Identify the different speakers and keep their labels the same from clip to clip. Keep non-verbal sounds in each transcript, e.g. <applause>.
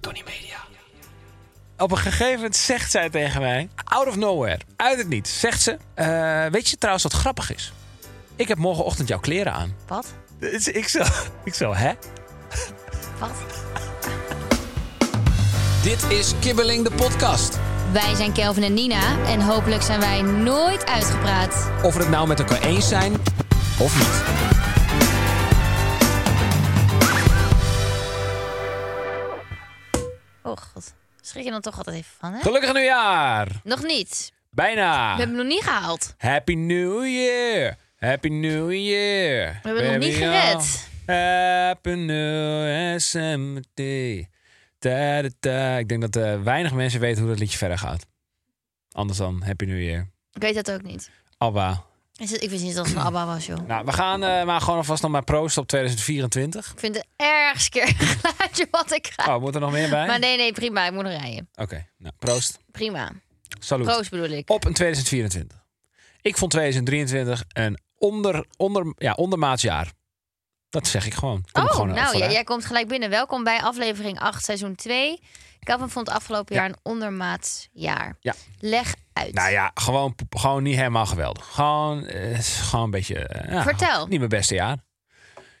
Speaker 1: Tony Media. Op een gegeven moment zegt zij tegen mij, out of nowhere, uit het niets, zegt ze... eh, weet je trouwens wat grappig is? Ik heb morgenochtend jouw kleren aan.
Speaker 2: Wat?
Speaker 1: Dus ik zo, <laughs> ik zo, hè?
Speaker 2: Wat?
Speaker 3: Dit is Kibbeling de podcast.
Speaker 2: Wij zijn Kelvin en Nina en hopelijk zijn wij nooit uitgepraat.
Speaker 3: Of we het nou met elkaar eens zijn of niet.
Speaker 2: Oh god, schrik je dan toch altijd even van, hè?
Speaker 1: Gelukkig nieuwjaar!
Speaker 2: Nog niet.
Speaker 1: Bijna!
Speaker 2: We hebben hem nog niet gehaald.
Speaker 1: Happy New Year! Happy New Year!
Speaker 2: We hebben nog niet
Speaker 1: Baby,
Speaker 2: gered.
Speaker 1: oh. Happy New SMT. Ta, da, ta. Ik denk dat eh, weinig mensen weten hoe dat liedje verder gaat. Anders dan Happy New Year.
Speaker 2: Ik weet dat ook niet.
Speaker 1: Abba.
Speaker 2: Is het- Ik wist niet dat het van ABBA was, joh.
Speaker 1: Nou, we gaan eh, maar gewoon alvast nog maar proosten op 2024.
Speaker 2: Ik vind het ergst keer geluidje wat ik krijg.
Speaker 1: Oh, moet er nog meer bij?
Speaker 2: Maar nee, nee, prima. Ik moet nog rijden.
Speaker 1: Oké, nou, proost.
Speaker 2: Prima.
Speaker 1: Salut.
Speaker 2: Proost bedoel ik.
Speaker 1: Op een 2024. Ik vond 2023 een onder, onder, ja, ondermaats jaar. Dat zeg ik gewoon. Kom ik
Speaker 2: oh,
Speaker 1: gewoon
Speaker 2: nou,
Speaker 1: vooruit.
Speaker 2: jij, jij komt gelijk binnen. Welkom bij aflevering 8, seizoen 2. Kelvin vond het afgelopen jaar een ondermaats jaar.
Speaker 1: Ja.
Speaker 2: Leg uit.
Speaker 1: Nou ja, gewoon, gewoon niet helemaal geweldig. Gewoon, eh, gewoon een beetje... eh, ja,
Speaker 2: Vertel.
Speaker 1: Niet mijn beste jaar.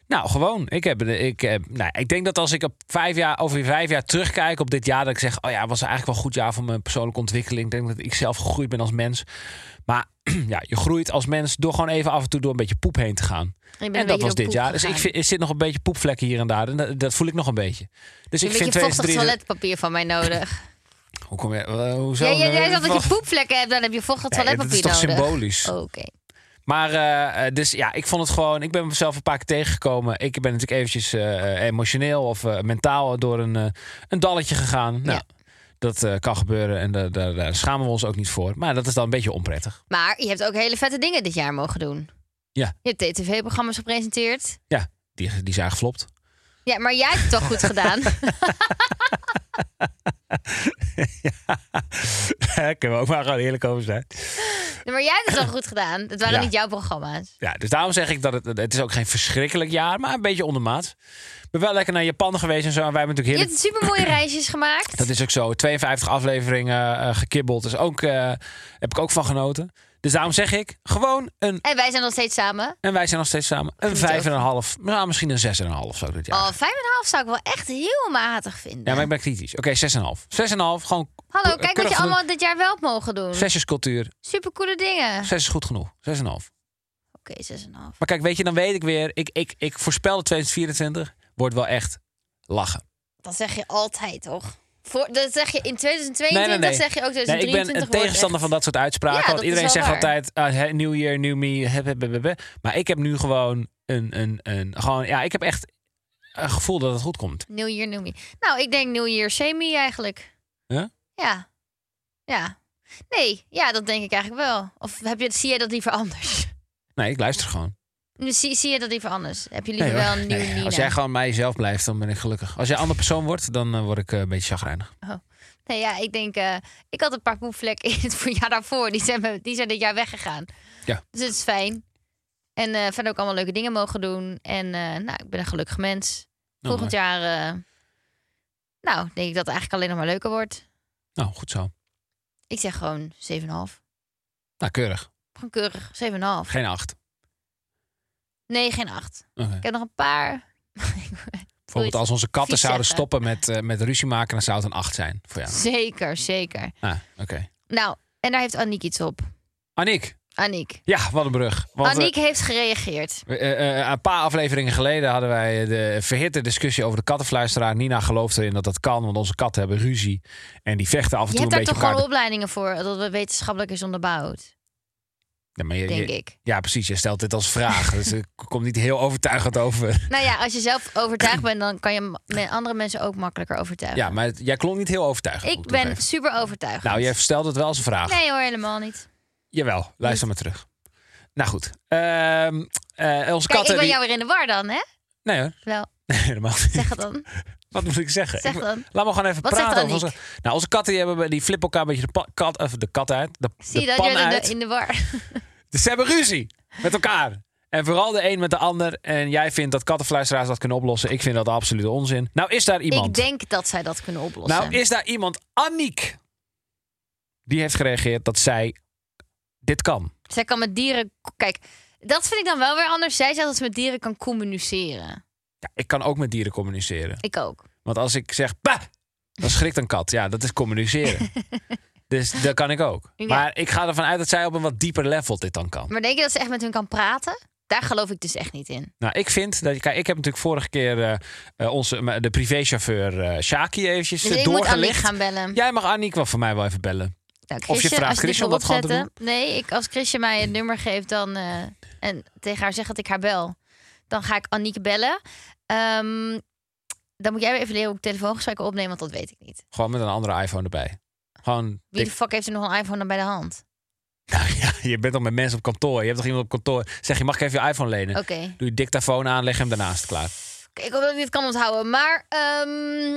Speaker 1: Nou, gewoon. Ik, heb, de- ik, heb, nou, ik denk dat als ik op vijf jaar, over vijf jaar terugkijk op dit jaar... dat ik zeg, oh ja, het was eigenlijk wel een goed jaar voor mijn persoonlijke ontwikkeling. Ik denk dat ik zelf gegroeid ben als mens. Maar <clears throat> ja, je groeit als mens door gewoon even af en toe door een beetje poep heen te gaan.
Speaker 2: Ik ben
Speaker 1: En dat
Speaker 2: een beetje
Speaker 1: was
Speaker 2: op
Speaker 1: dit
Speaker 2: poep
Speaker 1: jaar. Dus ik
Speaker 2: gegaan.
Speaker 1: vind, er zit nog een beetje poepvlekken hier en daar. En dat, dat voel ik nog een beetje. Dus ik
Speaker 2: een
Speaker 1: vind
Speaker 2: beetje vochtig
Speaker 1: 2023...
Speaker 2: toiletpapier van mij
Speaker 1: <laughs>
Speaker 2: nodig.
Speaker 1: Hoe kom je... eh, hoezo?
Speaker 2: jij, jij, jij
Speaker 1: Eh,
Speaker 2: zegt dat
Speaker 1: wacht.
Speaker 2: je poepvlekken hebt, dan heb je vochtig
Speaker 1: Nee,
Speaker 2: toiletpapier
Speaker 1: dat is toch
Speaker 2: nodig. Oh.
Speaker 1: symbolisch?
Speaker 2: Oké.
Speaker 1: Maar eh, eh, dus ja, ik vond het gewoon. Ik ben mezelf een paar keer tegengekomen. Ik ben natuurlijk eventjes eh, emotioneel of eh, mentaal door een, eh, een dalletje gegaan. Nou,
Speaker 2: Ja.
Speaker 1: dat eh, kan gebeuren en daar, daar, daar schamen we ons ook niet voor. Maar dat is dan een beetje onprettig.
Speaker 2: Maar je hebt ook hele vette dingen dit jaar mogen doen.
Speaker 1: Ja.
Speaker 2: Je hebt tv-programma's gepresenteerd.
Speaker 1: Ja, die, die zijn geflopt.
Speaker 2: Ja, maar jij hebt het toch goed gedaan?
Speaker 1: <laughs>
Speaker 2: <laughs>
Speaker 1: Daar kunnen we ook maar gewoon eerlijk over zijn.
Speaker 2: Nee, maar jij hebt het toch goed gedaan? Het waren
Speaker 1: Ja.
Speaker 2: niet jouw programma's.
Speaker 1: Ja, dus daarom zeg ik dat het, het is ook geen verschrikkelijk jaar, maar een beetje ondermaat. Ik ben wel lekker naar Japan geweest en zo. En wij hebben natuurlijk
Speaker 2: Je
Speaker 1: heerlijk
Speaker 2: hebt super
Speaker 1: <clears throat>
Speaker 2: mooie reisjes gemaakt.
Speaker 1: Dat is ook zo. 52 afleveringen eh, gekibbeld. Dus ook, eh, heb ik ook van genoten. Dus daarom zeg ik gewoon een.
Speaker 2: En wij zijn nog steeds samen.
Speaker 1: En wij zijn nog steeds samen. Een
Speaker 2: Geniet
Speaker 1: 5,5. Nou, misschien een 6,5 zo dit jaar.
Speaker 2: Oh, vijf en een half zou ik wel echt heel matig vinden.
Speaker 1: Ja, maar ik ben kritisch. Oké, 6,5. 6,5. Gewoon.
Speaker 2: Hallo,
Speaker 1: eh,
Speaker 2: kijk wat
Speaker 1: keurig
Speaker 2: je
Speaker 1: genoeg.
Speaker 2: allemaal dit jaar wel hebt mogen doen.
Speaker 1: Zes is cultuur.
Speaker 2: Supercoole dingen.
Speaker 1: 6 is goed genoeg. 6,5.
Speaker 2: Oké, zes en een half.
Speaker 1: Maar kijk, weet je, dan weet ik weer. Ik, ik, ik voorspelde 2024. Wordt wel echt lachen.
Speaker 2: Dat zeg je altijd, toch? Voor, dat zeg je in 2022, zeg je ook
Speaker 1: Nee, ik
Speaker 2: 2023
Speaker 1: ben een
Speaker 2: wordt
Speaker 1: tegenstander
Speaker 2: echt-
Speaker 1: van dat soort uitspraken.
Speaker 2: Ja,
Speaker 1: want
Speaker 2: dat is
Speaker 1: iedereen
Speaker 2: wel
Speaker 1: zegt
Speaker 2: waar.
Speaker 1: altijd: ah, hè, New Year, New Me. Heb, heb, heb, heb, heb. Maar ik heb nu gewoon een, een, een. Gewoon, ja, ik heb echt een gevoel dat het goed komt.
Speaker 2: New Year, New Me. Nou, ik denk New Year, same me eigenlijk.
Speaker 1: Ja?
Speaker 2: Ja. Ja. Nee, ja, dat denk ik eigenlijk wel. Of heb je, zie je dat liever anders? <laughs>
Speaker 1: Nee, ik luister gewoon.
Speaker 2: Nu Zie, zie je dat liever anders? Heb je
Speaker 1: Nee,
Speaker 2: liever
Speaker 1: hoor.
Speaker 2: wel een nieuwe
Speaker 1: Nee,
Speaker 2: Nina?
Speaker 1: als jij gewoon bij jezelf blijft, dan ben ik gelukkig. Als jij een ander persoon wordt, dan eh, word ik eh, een beetje chagrijnig.
Speaker 2: Nee, ja, ik denk... eh, ik had een paar poepvlekken in het voorjaar daarvoor. Die zijn, me- die zijn dit jaar weggegaan.
Speaker 1: Ja.
Speaker 2: Dus het is fijn. En eh, verder ook allemaal leuke dingen mogen doen. En eh, nou, ik ben een gelukkig mens.
Speaker 1: Nou,
Speaker 2: Volgend jaar... eh, nou, denk ik dat het eigenlijk alleen nog maar leuker wordt.
Speaker 1: Nou, goed zo.
Speaker 2: Ik zeg gewoon 7,5. Gewoon
Speaker 1: Nou, keurig.
Speaker 2: keurig 7,5.
Speaker 1: Geen acht.
Speaker 2: Nee, geen 8.
Speaker 1: Oké.
Speaker 2: Ik heb nog een paar. <laughs>
Speaker 1: Bijvoorbeeld als onze katten
Speaker 2: vies
Speaker 1: zouden
Speaker 2: zeggen.
Speaker 1: stoppen met, eh, met ruzie maken, dan zou het een acht zijn voor jou.
Speaker 2: Zeker, zeker.
Speaker 1: Ah, oké.
Speaker 2: Nou, en daar heeft Aniek iets op.
Speaker 1: Aniek.
Speaker 2: Aniek.
Speaker 1: Ja, wat een brug. Want, eh,
Speaker 2: Aniek heeft gereageerd.
Speaker 1: Eh, eh, eh, een paar afleveringen geleden hadden wij eh, de verhitte discussie over de kattenfluisteraar. Nina gelooft erin dat dat kan, want onze katten hebben ruzie. En die vechten af en toe
Speaker 2: Je hebt
Speaker 1: een
Speaker 2: daar
Speaker 1: beetje
Speaker 2: toch
Speaker 1: elkaar.
Speaker 2: gewoon opleidingen voor, dat het wetenschappelijk is onderbouwd.
Speaker 1: Ja, maar je-
Speaker 2: denk
Speaker 1: je-
Speaker 2: ik.
Speaker 1: Ja, precies. Je stelt dit als vraag. <laughs> dus ik kom niet heel overtuigend over.
Speaker 2: Nou ja, als je zelf overtuigd bent, dan kan je m- met andere mensen ook makkelijker overtuigen.
Speaker 1: Ja, maar het- jij klonk niet heel overtuigend.
Speaker 2: ik
Speaker 1: moet
Speaker 2: ben
Speaker 1: toegeven.
Speaker 2: super overtuigd.
Speaker 1: Nou, jij stelt het wel als een vraag.
Speaker 2: Nee hoor, helemaal niet.
Speaker 1: Jawel, luister maar terug. Nou goed. Ehm, eh, onze
Speaker 2: Kijk,
Speaker 1: katten.
Speaker 2: ik ben
Speaker 1: die-
Speaker 2: jou weer in de war dan, hè?
Speaker 1: Nee hoor, <laughs>
Speaker 2: Wel,
Speaker 1: nee, helemaal niet.
Speaker 2: zeg het dan.
Speaker 1: Wat moet ik zeggen?
Speaker 2: Zeg
Speaker 1: Ik-
Speaker 2: dan.
Speaker 1: Laat me gewoon even
Speaker 2: Wat zegt
Speaker 1: praten. over
Speaker 2: Aniek?
Speaker 1: onze, nou, onze katten die hebben, die flippen elkaar een beetje de, pa- kat, of de kat uit. De,
Speaker 2: Zie
Speaker 1: de
Speaker 2: je dat?
Speaker 1: pan
Speaker 2: Je bent in
Speaker 1: uit.
Speaker 2: de, in de war. <laughs>
Speaker 1: Dus ze hebben ruzie met elkaar. En vooral de een met de ander. En jij vindt dat kattenfluisteraars dat kunnen oplossen. Ik vind dat absoluut onzin. Nou is daar iemand.
Speaker 2: Ik denk dat zij dat kunnen oplossen.
Speaker 1: Nou is daar iemand, Aniek. Die heeft gereageerd dat zij dit kan.
Speaker 2: Zij kan met dieren... Kijk, dat vind ik dan wel weer anders. Zij zegt dat ze met dieren kan communiceren.
Speaker 1: Ja, ik kan ook met dieren communiceren.
Speaker 2: Ik ook.
Speaker 1: Want als ik zeg bah, dan schrikt een kat. Ja, dat is
Speaker 2: <laughs>
Speaker 1: communiceren. dus dat kan ik ook.
Speaker 2: Ja.
Speaker 1: Maar ik ga ervan uit dat zij op een wat dieper level dit dan kan.
Speaker 2: Maar denk je dat ze echt met hun kan praten? Daar geloof ik dus echt niet in.
Speaker 1: Nou, ik vind dat je. Kijk, ik heb natuurlijk vorige keer eh, eh, onze, m- de privéchauffeur eh Shaki eventjes
Speaker 2: Dus
Speaker 1: eh,
Speaker 2: ik moet Annie
Speaker 1: doorgelicht.
Speaker 2: gaan bellen.
Speaker 1: Jij mag Aniek wel voor mij wel even bellen.
Speaker 2: Nou,
Speaker 1: Of je vraagt
Speaker 2: als dit
Speaker 1: Chrisje om
Speaker 2: wil
Speaker 1: dat gewoon te
Speaker 2: opzetten- Nee, ik, als Chrisje mij een nummer geeft dan, eh, en tegen haar zegt dat ik haar bel, dan ga ik Annieke bellen. Ehm, dan moet jij weer even leren hoe ik telefoongesprekken opneem, want dat weet ik niet.
Speaker 1: Gewoon met een andere iPhone erbij. Gewoon.
Speaker 2: Wie de
Speaker 1: dik-
Speaker 2: fuck heeft er nog een iPhone dan bij de hand?
Speaker 1: Nou ja, je bent toch met mensen op kantoor. Je hebt toch iemand op kantoor. Zeg je, mag ik even je iPhone lenen?
Speaker 2: Oké,
Speaker 1: Doe je dictafoon aan, leg hem daarnaast klaar.
Speaker 2: Oké, ik hoop dat ik dit kan onthouden. Maar ehm,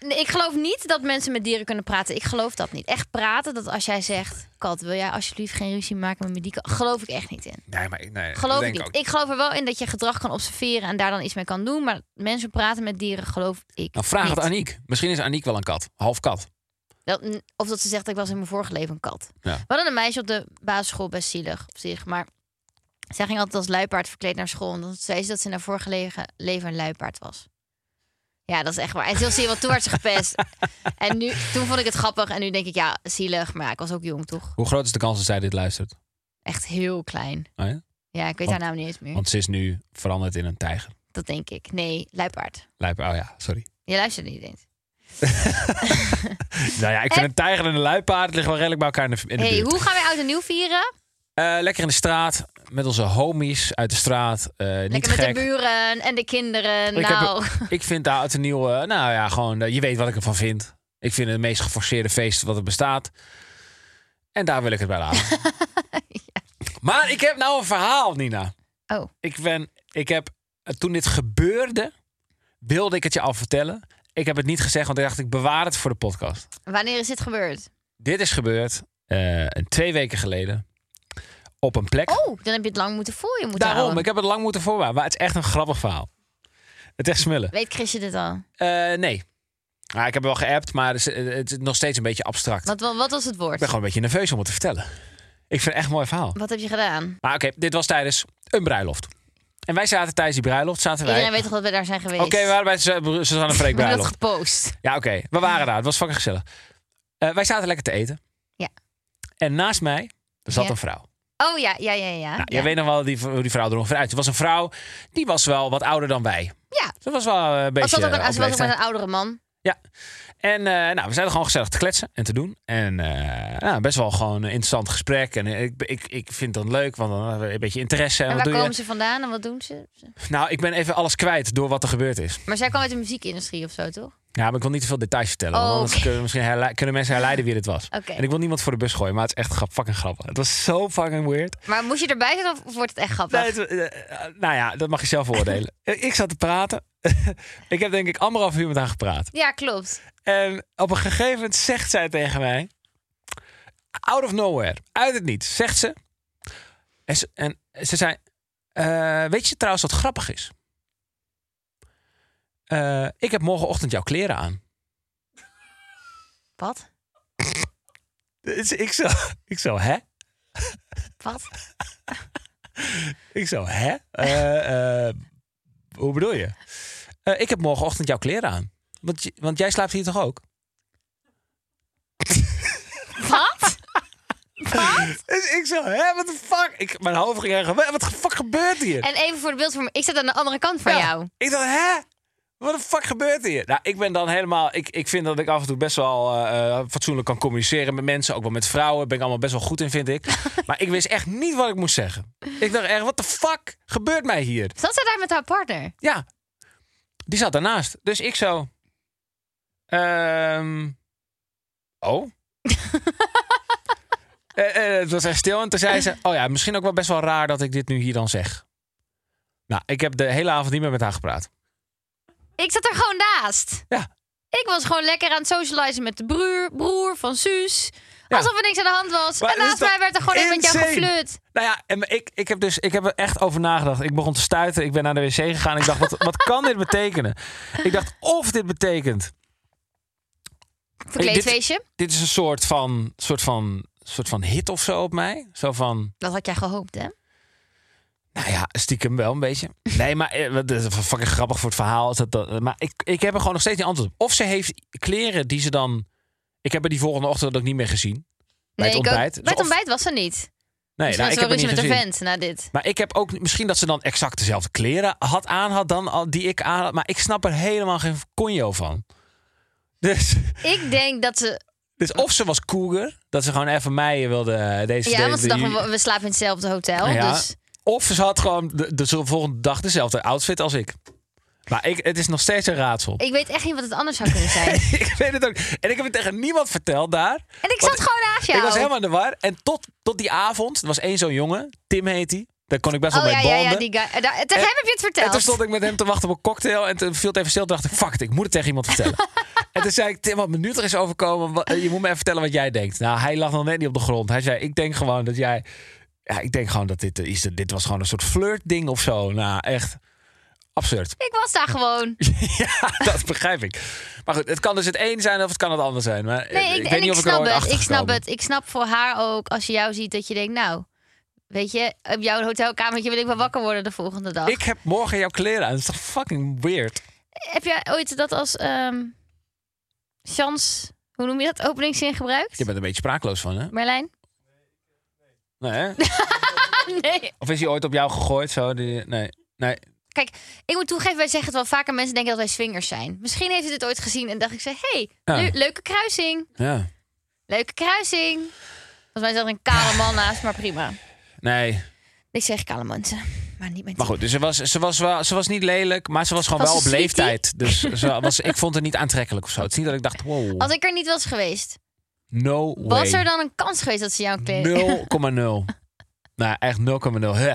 Speaker 2: nee, ik geloof niet dat mensen met dieren kunnen praten. Ik geloof dat niet. Echt praten, dat als jij zegt... Kat, wil jij alsjeblieft geen ruzie maken met medieke? Geloof ik echt niet in.
Speaker 1: Nee, maar ik- nee, dat
Speaker 2: Geloof ik
Speaker 1: denk
Speaker 2: niet.
Speaker 1: ook.
Speaker 2: Ik geloof er wel in dat je gedrag kan observeren en daar dan iets mee kan doen. Maar mensen praten met dieren geloof ik
Speaker 1: Nou, vraag het
Speaker 2: niet.
Speaker 1: Aniek. Misschien is Aniek wel een kat. Half kat.
Speaker 2: Dat- n- Of dat ze zegt, ik was in mijn vorige leven een kat.
Speaker 1: Ja.
Speaker 2: We hadden een meisje op de basisschool, best zielig op zich. Maar zij ging altijd als luipaard verkleed naar school. En dan zei ze dat ze in haar vorige lege- leven een luipaard was. Ja, dat is echt waar. En toen zie je wat, toen werd ze
Speaker 1: <laughs>
Speaker 2: gepest. en nu, toen vond ik het grappig. En nu denk ik, ja, zielig. Maar ja, ik was ook jong, toch?
Speaker 1: Hoe groot is de kans dat zij dit luistert?
Speaker 2: Echt heel klein.
Speaker 1: Oh ja?
Speaker 2: Ja, ik weet
Speaker 1: Want-
Speaker 2: haar naam niet eens meer.
Speaker 1: Want ze is nu veranderd in een tijger.
Speaker 2: Dat denk ik. Nee, luipaard.
Speaker 1: Luip, oh ja, sorry.
Speaker 2: Je luistert niet eens.
Speaker 1: Nou ja, ik vind een tijger en een luipaard liggen wel redelijk bij elkaar in de, in de
Speaker 2: Eh. hey,
Speaker 1: buurt.
Speaker 2: hoe gaan wij oud en nieuw vieren?
Speaker 1: Eh, lekker in de straat, met onze homies uit de straat. eh, niet
Speaker 2: Lekker met
Speaker 1: gek.
Speaker 2: de buren en de kinderen.
Speaker 1: Ik heb-
Speaker 2: nou,
Speaker 1: Ik vind daar het een nieuw, eh, nou ja, gewoon, eh, je weet wat ik ervan vind. Ik vind het meest geforceerde feest wat er bestaat. En daar wil ik het bij
Speaker 2: <laughs>
Speaker 1: laten. Maar ik heb nou een verhaal, Nina.
Speaker 2: Oh.
Speaker 1: Ik ben, ik heb, eh, toen dit gebeurde, wilde ik het je al vertellen. Ik heb het niet gezegd, want ik dacht, ik bewaar het voor de podcast.
Speaker 2: wanneer is dit gebeurd?
Speaker 1: Dit is gebeurd eh, een twee weken geleden. Op een plek.
Speaker 2: Oh, dan heb je het lang moeten voor je moeten
Speaker 1: Daarom,
Speaker 2: houden.
Speaker 1: ik heb het lang moeten voorbouwen. Maar het is echt een grappig verhaal. Het is echt smullen.
Speaker 2: Weet Chrisje dit al?
Speaker 1: Eh, nee. Ah, ik heb wel geappt, maar het is, eh, het is nog steeds een beetje abstract.
Speaker 2: Wat, wa- wat was het woord?
Speaker 1: Ik ben gewoon een beetje nerveus om het te vertellen. Ik vind het echt een mooi verhaal.
Speaker 2: Wat heb je gedaan?
Speaker 1: Maar oké, dit was tijdens een bruiloft. En wij zaten tijdens die bruiloft, zaten wij...
Speaker 2: Iedereen weet toch dat we daar zijn geweest?
Speaker 1: Oké, we waren bij Su- Suzanne Freek
Speaker 2: <laughs> We hebben
Speaker 1: bruiloft.
Speaker 2: dat gepost.
Speaker 1: Ja, oké. We waren daar. Het was fucking gezellig. Eh, wij zaten lekker te eten.
Speaker 2: Ja.
Speaker 1: En naast mij zat
Speaker 2: Ja.
Speaker 1: een vrouw.
Speaker 2: Oh ja, ja, ja, ja.
Speaker 1: Nou,
Speaker 2: ja.
Speaker 1: Jij weet nog wel die, hoe die vrouw er ongeveer uit. Het was een vrouw, die was wel wat ouder dan wij.
Speaker 2: Ja.
Speaker 1: Ze was wel eh, een
Speaker 2: Als
Speaker 1: beetje
Speaker 2: dat ook,
Speaker 1: eh, op
Speaker 2: als was ook met
Speaker 1: leeftijd.
Speaker 2: een oudere man.
Speaker 1: En eh, nou, we zijn er gewoon gezellig te kletsen en te doen. En eh, nou, best wel gewoon een interessant gesprek. En eh, ik, ik, ik vind dat leuk, want dan hebben we een beetje interesse. En,
Speaker 2: En
Speaker 1: wat
Speaker 2: waar
Speaker 1: doe
Speaker 2: komen
Speaker 1: je?
Speaker 2: ze vandaan en wat doen ze?
Speaker 1: Nou, ik ben even alles kwijt door wat er gebeurd is.
Speaker 2: Maar zij kwam uit de muziekindustrie of zo, toch?
Speaker 1: Ja, maar ik wil niet te veel details vertellen. want
Speaker 2: Oh,
Speaker 1: anders
Speaker 2: oké.
Speaker 1: kunnen, misschien herle- kunnen mensen herleiden wie dit was.
Speaker 2: Oké.
Speaker 1: En ik wil niemand voor de bus gooien, maar het is echt grap- fucking grappig. Het was zo fucking weird.
Speaker 2: Maar moest je erbij zijn of of wordt het echt grappig?
Speaker 1: Nee, het- eh, eh, nou ja, dat mag je zelf
Speaker 2: <laughs>
Speaker 1: oordelen. Eh, ik zat te praten. <laughs> ik heb denk ik anderhalf uur met haar gepraat.
Speaker 2: Ja, klopt.
Speaker 1: En op een gegeven moment zegt zij tegen mij... Out of nowhere, uit het niets, zegt ze... En ze, en ze zei... eh, weet je trouwens wat grappig is? Eh, ik heb morgenochtend jouw kleren aan.
Speaker 2: Wat?
Speaker 1: Dus ik zo, <laughs> ik zo hè?
Speaker 2: Wat?
Speaker 1: Ik zo, hè? Eh, eh, hoe bedoel je? Eh, ik heb morgenochtend jouw kleren aan. Want, j- want jij slaapt hier toch ook? <laughs>
Speaker 2: Wat?
Speaker 1: Dus ik zo, hè? Wat de fuck? Ik, mijn hoofd ging erg. Wat de fuck gebeurt hier?
Speaker 2: En even voor de beeldvorming. Ik zat aan de andere kant van
Speaker 1: Ja.
Speaker 2: jou.
Speaker 1: Ik dacht, hè? Wat de fuck gebeurt hier? Nou, ik ben dan helemaal. Ik, ik vind dat ik af en toe best wel eh, eh, fatsoenlijk kan communiceren met mensen. Ook wel met vrouwen. Ben ik allemaal best wel goed in, vind
Speaker 2: <laughs>
Speaker 1: ik. maar ik wist echt niet wat ik moest zeggen. Ik dacht echt, wat de fuck gebeurt mij hier?
Speaker 2: Zat zij daar met haar partner?
Speaker 1: Ja, die zat daarnaast. Dus ik zo. ehm,
Speaker 2: <laughs>
Speaker 1: oh. Eh, eh, het was echt stil. En toen zei ze: Oh ja, misschien ook wel best wel raar dat ik dit nu hier dan zeg. Nou, ik heb de hele avond niet meer met haar gepraat.
Speaker 2: Ik zat er gewoon naast.
Speaker 1: Ja.
Speaker 2: Ik was gewoon lekker aan het socializen met de broer, broer van Suus.
Speaker 1: Ja.
Speaker 2: Alsof er niks aan de hand was.
Speaker 1: Maar
Speaker 2: en
Speaker 1: is
Speaker 2: naast
Speaker 1: dat
Speaker 2: mij werd er gewoon even met jou
Speaker 1: insane?
Speaker 2: geflirt.
Speaker 1: Nou ja, en ik, ik heb dus ik heb er echt over nagedacht. Ik begon te stuiten. Ik ben naar de wc gegaan. Ik dacht, wat, wat kan dit betekenen? Ik dacht, of dit betekent.
Speaker 2: Verkleedfeestje.
Speaker 1: Dit is een soort van, soort van, soort van hit of zo op mij. Zo van.
Speaker 2: Dat had jij gehoopt, hè?
Speaker 1: Nou ja, stiekem wel een beetje. Nee, maar eh, wat- dat is fucking grappig voor het verhaal. Dat, dat, maar ik, ik heb er gewoon nog steeds niet antwoord op. Of ze heeft kleren die ze dan... Ik heb er die volgende ochtend ook niet meer gezien. Bij het
Speaker 2: ik ook-
Speaker 1: ontbijt.
Speaker 2: bij het
Speaker 1: Of-
Speaker 2: ontbijt was ze niet.
Speaker 1: Nee, nou, ik
Speaker 2: Dus was ze
Speaker 1: heb er
Speaker 2: wel ruzie
Speaker 1: niet
Speaker 2: met een
Speaker 1: gezien.
Speaker 2: vent na dit.
Speaker 1: Maar ik heb ook... Misschien dat ze dan exact dezelfde kleren had aan had dan al die ik aan had. Maar ik snap er helemaal geen conjo van. Dus, <laughs>
Speaker 2: Ik denk dat ze...
Speaker 1: dus of ze was cougar. Dat ze gewoon even mij wilde... eh, Deze,
Speaker 2: Ja,
Speaker 1: deze-
Speaker 2: want ze dachten, we- we slapen in hetzelfde hotel.
Speaker 1: Ja.
Speaker 2: Dus
Speaker 1: Of ze had gewoon de, de volgende dag dezelfde outfit als ik. Maar ik, het is nog steeds een raadsel.
Speaker 2: ik weet echt niet wat het anders zou kunnen zijn.
Speaker 1: <laughs> ik weet het ook. En ik heb het tegen niemand verteld daar.
Speaker 2: En ik
Speaker 1: Want
Speaker 2: zat gewoon naast jou.
Speaker 1: Ik was helemaal in de war. En tot, tot die avond, er was één zo'n jongen, Tim heet hij. Daar kon ik best wel
Speaker 2: Oh
Speaker 1: mee
Speaker 2: ja, ja,
Speaker 1: bonden.
Speaker 2: ja, die guy. Eh, daar- Tegen hem heb je het
Speaker 1: en
Speaker 2: verteld.
Speaker 1: toen stond ik met hem te wachten op een cocktail. En toen viel het even stil. Toen dacht ik, fuck it, ik moet het tegen iemand vertellen.
Speaker 2: <laughs>
Speaker 1: en toen zei ik, Tim, wat me nu er is overkomen. wa- eh, Je moet me even vertellen wat jij denkt. Nou, hij lag nog net niet op de grond. Hij zei, ik denk gewoon dat jij... Ja, ik denk gewoon dat dit eh, is. Dit was gewoon een soort flirtding of zo. Nou, echt absurd. <laughs>
Speaker 2: Ik was daar gewoon.
Speaker 1: ja, dat begrijp ik. Maar goed, het kan dus het een zijn of het kan het ander zijn. Maar eh,
Speaker 2: Nee, ik,
Speaker 1: ik,
Speaker 2: en
Speaker 1: weet niet
Speaker 2: ik
Speaker 1: of ik er
Speaker 2: snap
Speaker 1: ooit
Speaker 2: het.
Speaker 1: achter
Speaker 2: Ik snap
Speaker 1: gekomen
Speaker 2: het. Ik snap voor haar ook als je jou ziet dat je denkt, nou, weet je, op jouw hotelkamertje wil ik wel wakker worden de volgende dag.
Speaker 1: Ik heb morgen jouw kleren aan. Dat is toch fucking weird?
Speaker 2: Heb jij ooit dat als ehm chance, hoe noem je dat, openingszin gebruikt?
Speaker 1: Je bent een beetje spraakloos van,
Speaker 2: <laughs>
Speaker 1: hè?
Speaker 2: Merlijn?
Speaker 1: Nee, hè?
Speaker 2: Nee.
Speaker 1: Of is hij ooit op jou gegooid? Zo? Die, nee. nee.
Speaker 2: Kijk, ik moet toegeven, wij zeggen het wel vaker. Mensen denken dat wij swingers zijn. Misschien heeft u dit ooit gezien en dacht ik, zei, hey,
Speaker 1: Ja.
Speaker 2: le- leuke kruising.
Speaker 1: Ja.
Speaker 2: Leuke kruising. Volgens mij zat er een kale man naast, maar prima.
Speaker 1: Nee.
Speaker 2: Ik zeg kale mensen, maar niet met
Speaker 1: Maar goed, dus ze, was, ze, was wel, ze was niet lelijk, maar ze was gewoon
Speaker 2: Was
Speaker 1: wel
Speaker 2: ze
Speaker 1: op
Speaker 2: sweetie?
Speaker 1: leeftijd. Dus ze was, ik vond het niet aantrekkelijk of zo. Het is niet dat ik dacht, wow,
Speaker 2: Als ik er niet was geweest,
Speaker 1: no way.
Speaker 2: Was er dan een kans geweest dat ze jou kleden?
Speaker 1: 0,0. nou, echt 0,0. Hè.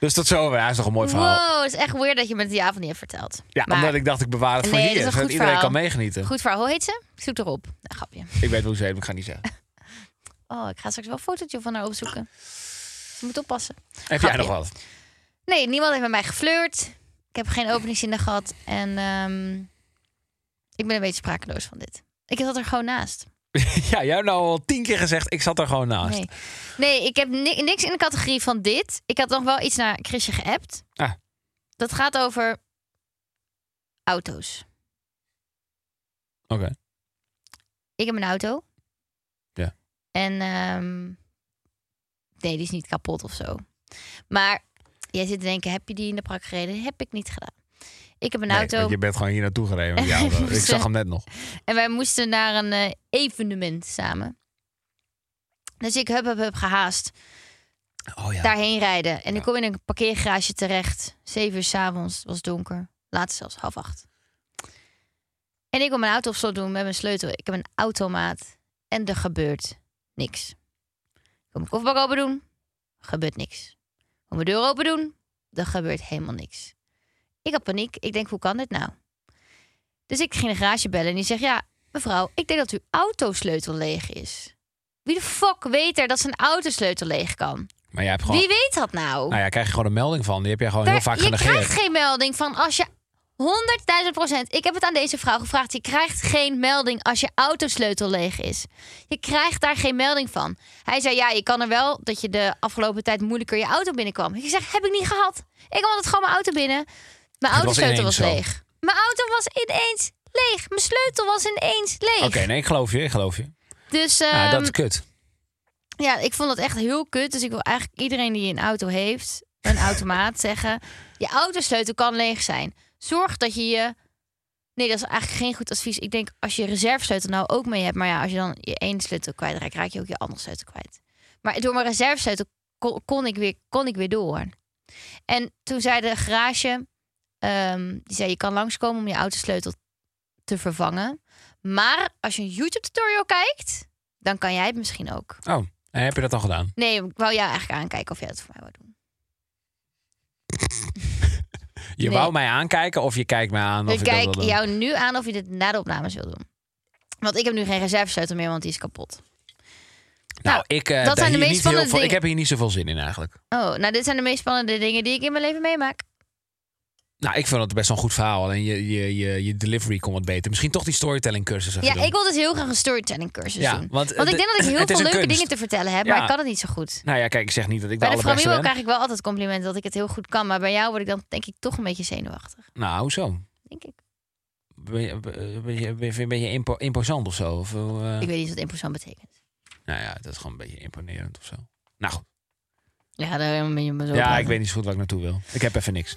Speaker 1: Dus tot zover. Hij is toch een mooi verhaal.
Speaker 2: Wow, het is echt weird dat je me die avond niet hebt verteld.
Speaker 1: Ja,
Speaker 2: Maar-
Speaker 1: omdat ik dacht, ik bewaar het voor
Speaker 2: Nee, dat
Speaker 1: hier.
Speaker 2: is een
Speaker 1: Zodat
Speaker 2: goed
Speaker 1: iedereen
Speaker 2: verhaal.
Speaker 1: kan meegenieten.
Speaker 2: Goed verhaal. Hoe heet ze? Ik zoek erop. Een grapje.
Speaker 1: Ik weet hoe ze heet, maar ik ga het niet
Speaker 2: <laughs>
Speaker 1: zeggen.
Speaker 2: Oh, ik ga straks wel een fotootje van haar opzoeken. Ze moet oppassen.
Speaker 1: Heb jij
Speaker 2: Grapje.
Speaker 1: nog wat?
Speaker 2: Nee, niemand heeft met mij geflirt. Ik heb geen openingszinnen gehad. En ehm, ik ben een beetje sprakeloos van dit. Ik zat er gewoon naast.
Speaker 1: Ja, jij hebt nou al tien keer gezegd, ik zat er gewoon naast.
Speaker 2: Nee, nee ik heb ni- niks in de categorie van dit. Ik had nog wel iets naar Chrisje geappt.
Speaker 1: Ah.
Speaker 2: Dat gaat over auto's.
Speaker 1: Oké.
Speaker 2: ik heb een auto.
Speaker 1: Ja.
Speaker 2: En ehm, nee, die is niet kapot of zo. Maar jij zit te denken, heb je die in de prak gereden? Heb ik niet gedaan. Ik heb een
Speaker 1: Nee,
Speaker 2: auto
Speaker 1: want je bent gewoon hier naartoe gereden.
Speaker 2: <laughs>
Speaker 1: met die auto. ik zag hem net nog.
Speaker 2: en wij moesten naar een eh, evenement samen. Dus ik heb, heb, heb gehaast.
Speaker 1: Oh ja.
Speaker 2: daarheen rijden. En ik kom in een parkeergarage terecht. Zeven uur s'avonds, het was donker. Later zelfs half acht. En ik wil mijn auto op slot doen met mijn sleutel. Ik heb een automaat en er gebeurt niks. Ik wil mijn kofferbak open doen, gebeurt niks. Ik wil mijn deur open doen, er gebeurt helemaal niks. Ik had paniek. Ik denk, hoe kan dit nou? Dus ik ging de garage bellen en die zegt... Ja, mevrouw, ik denk dat uw autosleutel leeg is. Wie de fuck weet er dat zijn autosleutel leeg kan?
Speaker 1: Maar jij hebt gewoon...
Speaker 2: Wie weet dat nou?
Speaker 1: Nou ja, krijg je gewoon een melding van. Die heb jij gewoon
Speaker 2: Daar-
Speaker 1: heel vaak
Speaker 2: je
Speaker 1: genegeerd.
Speaker 2: krijgt geen melding van als je 100.000 procent. Ik heb het aan deze vrouw gevraagd. Je krijgt geen melding als je autosleutel leeg is. Je krijgt daar geen melding van. Hij zei: Ja, je kan er wel dat je de afgelopen tijd moeilijker je auto binnenkwam. Ik zeg: Heb ik niet gehad. Ik kwam altijd gewoon mijn auto binnen. Mijn
Speaker 1: Het was
Speaker 2: autosleutel was
Speaker 1: ineens zo.
Speaker 2: leeg. Mijn auto was ineens leeg. Mijn sleutel was ineens leeg.
Speaker 1: Oké, nee, ik geloof je. Ik geloof je.
Speaker 2: Dus
Speaker 1: nou, dat
Speaker 2: ehm,
Speaker 1: is kut.
Speaker 2: ja, ik vond dat echt heel kut. Dus ik wil eigenlijk iedereen die een auto heeft, een automaat zeggen: je autosleutel kan leeg zijn. zorg dat je je... Nee, dat is eigenlijk geen goed advies. Ik denk, als je reservesleutel nou ook mee hebt... maar ja, als je dan je één sleutel kwijtraakt... raak je ook je andere sleutel kwijt. Maar door mijn reservesleutel kon, kon, ik, weer, kon ik weer door. En toen zei de garage... ehm, die zei, je kan langskomen om je autosleutel te vervangen. Maar als je een YouTube-tutorial kijkt... dan kan jij het misschien ook.
Speaker 1: Oh, en heb je dat al gedaan?
Speaker 2: Nee, ik wou jou eigenlijk aankijken of jij dat voor mij wou doen.
Speaker 1: Je
Speaker 2: Nee.
Speaker 1: wou mij aankijken of je kijkt mij aan? Of
Speaker 2: ik
Speaker 1: ik eh. dat wil
Speaker 2: kijk
Speaker 1: doen?
Speaker 2: jou nu aan of je dit na de opnames wil doen. Want ik heb nu geen reservesleutel meer, want die is kapot.
Speaker 1: Nou,
Speaker 2: Nou,
Speaker 1: ik, eh,
Speaker 2: dat
Speaker 1: daar
Speaker 2: zijn de
Speaker 1: hier
Speaker 2: meest
Speaker 1: niet heel
Speaker 2: spannende
Speaker 1: veel- ik
Speaker 2: dingen.
Speaker 1: heb hier niet zoveel zin in eigenlijk.
Speaker 2: Oh, nou dit zijn de meest spannende dingen die ik in mijn leven meemaak.
Speaker 1: Nou, ik vind dat best wel een goed verhaal. Alleen je, je, je, je delivery kon wat beter. Misschien toch die storytelling cursus. even
Speaker 2: Ja,
Speaker 1: doen.
Speaker 2: ik wil dus heel graag een storytelling cursus
Speaker 1: Ja,
Speaker 2: doen.
Speaker 1: want,
Speaker 2: Want,
Speaker 1: eh,
Speaker 2: ik
Speaker 1: de-
Speaker 2: denk dat ik heel
Speaker 1: het is
Speaker 2: veel
Speaker 1: een
Speaker 2: leuke
Speaker 1: kunst.
Speaker 2: dingen te vertellen heb,
Speaker 1: Ja.
Speaker 2: maar ik kan het niet zo goed.
Speaker 1: Nou ja, kijk, ik zeg niet dat ik de
Speaker 2: Bij de
Speaker 1: allerbeste
Speaker 2: Framio
Speaker 1: ben.
Speaker 2: krijg ik wel altijd complimenten dat ik het heel goed kan, maar bij jou word ik dan denk ik toch een beetje zenuwachtig,
Speaker 1: Nou, hoezo?
Speaker 2: denk ik.
Speaker 1: Ben je, ben je, ben je een beetje impo- imposant of zo? Of, eh,
Speaker 2: Ik weet niet wat imposant betekent.
Speaker 1: Nou ja, dat is gewoon een beetje imponerend of zo. Nou goed.
Speaker 2: Ja, daar ben je me zo op
Speaker 1: Ja,
Speaker 2: aan.
Speaker 1: ik weet niet zo goed waar ik naartoe wil. Ik heb even niks.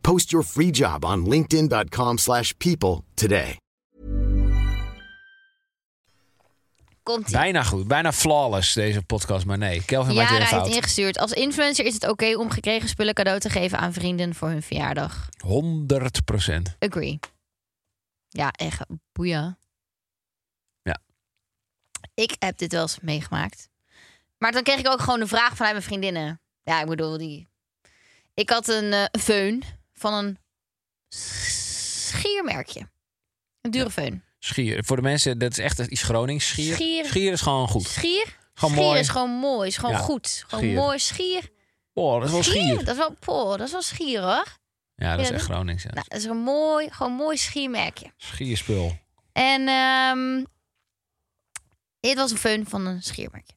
Speaker 4: Post your free job on linkedin.com/people slash people today.
Speaker 2: Komt-ie.
Speaker 1: Bijna goed. Bijna flawless deze podcast, maar nee. Kelvin maakt weer
Speaker 2: Jara
Speaker 1: een
Speaker 2: heeft
Speaker 1: fout.
Speaker 2: ingestuurd. Als influencer is het oké om gekregen spullen cadeau te geven aan vrienden voor hun verjaardag.
Speaker 1: 100
Speaker 2: Agree. Ja, echt boeien.
Speaker 1: Ja.
Speaker 2: Ik heb dit wel eens meegemaakt. Maar dan kreeg ik ook gewoon een vraag vanuit mijn vriendinnen. Ja, ik bedoel, die... Ik had een eh föhn van een schiermerkje. Een dure föhn.
Speaker 1: Schier. Voor de mensen, dat is echt iets Gronings. Schier.
Speaker 2: Schier.
Speaker 1: is gewoon goed.
Speaker 2: Schier?
Speaker 1: Gewoon
Speaker 2: schier
Speaker 1: mooi.
Speaker 2: is gewoon mooi, is gewoon
Speaker 1: Ja,
Speaker 2: goed. Gewoon
Speaker 1: schier.
Speaker 2: mooi schier.
Speaker 1: Oh, dat is wel schier.
Speaker 2: Dat is wel, poh, dat is wel schier hoor.
Speaker 1: Ja, dat is echt
Speaker 2: Ja, dat-
Speaker 1: Gronings. Ja.
Speaker 2: Nou, dat is een mooi, gewoon mooi schiermerkje.
Speaker 1: Schierspul.
Speaker 2: En ehm, dit was een föhn van een schiermerkje.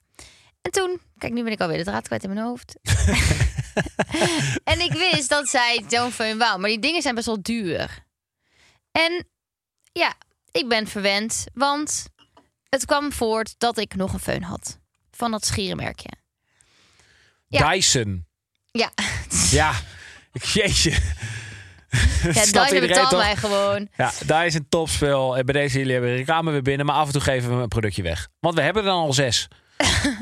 Speaker 2: En toen, kijk, nu ben ik alweer de draad kwijt in mijn
Speaker 1: <laughs>
Speaker 2: hoofd. en ik wist dat zij zo'n föhn wou. Maar die dingen zijn best wel duur. En ja, ik ben verwend. Want het kwam voort dat ik nog een föhn had. Van dat schierenmerkje. Ja.
Speaker 1: Dyson.
Speaker 2: Ja,
Speaker 1: Ja. Jeetje. <laughs>
Speaker 2: ja
Speaker 1: snapt
Speaker 2: Dyson
Speaker 1: iedereen
Speaker 2: betaalt
Speaker 1: toch?
Speaker 2: mij gewoon.
Speaker 1: Ja, daar is een topspel. En bij deze jullie hebben we reclame weer binnen. Maar af en toe geven we een productje weg. Want we hebben er dan al
Speaker 2: <laughs>
Speaker 1: zes.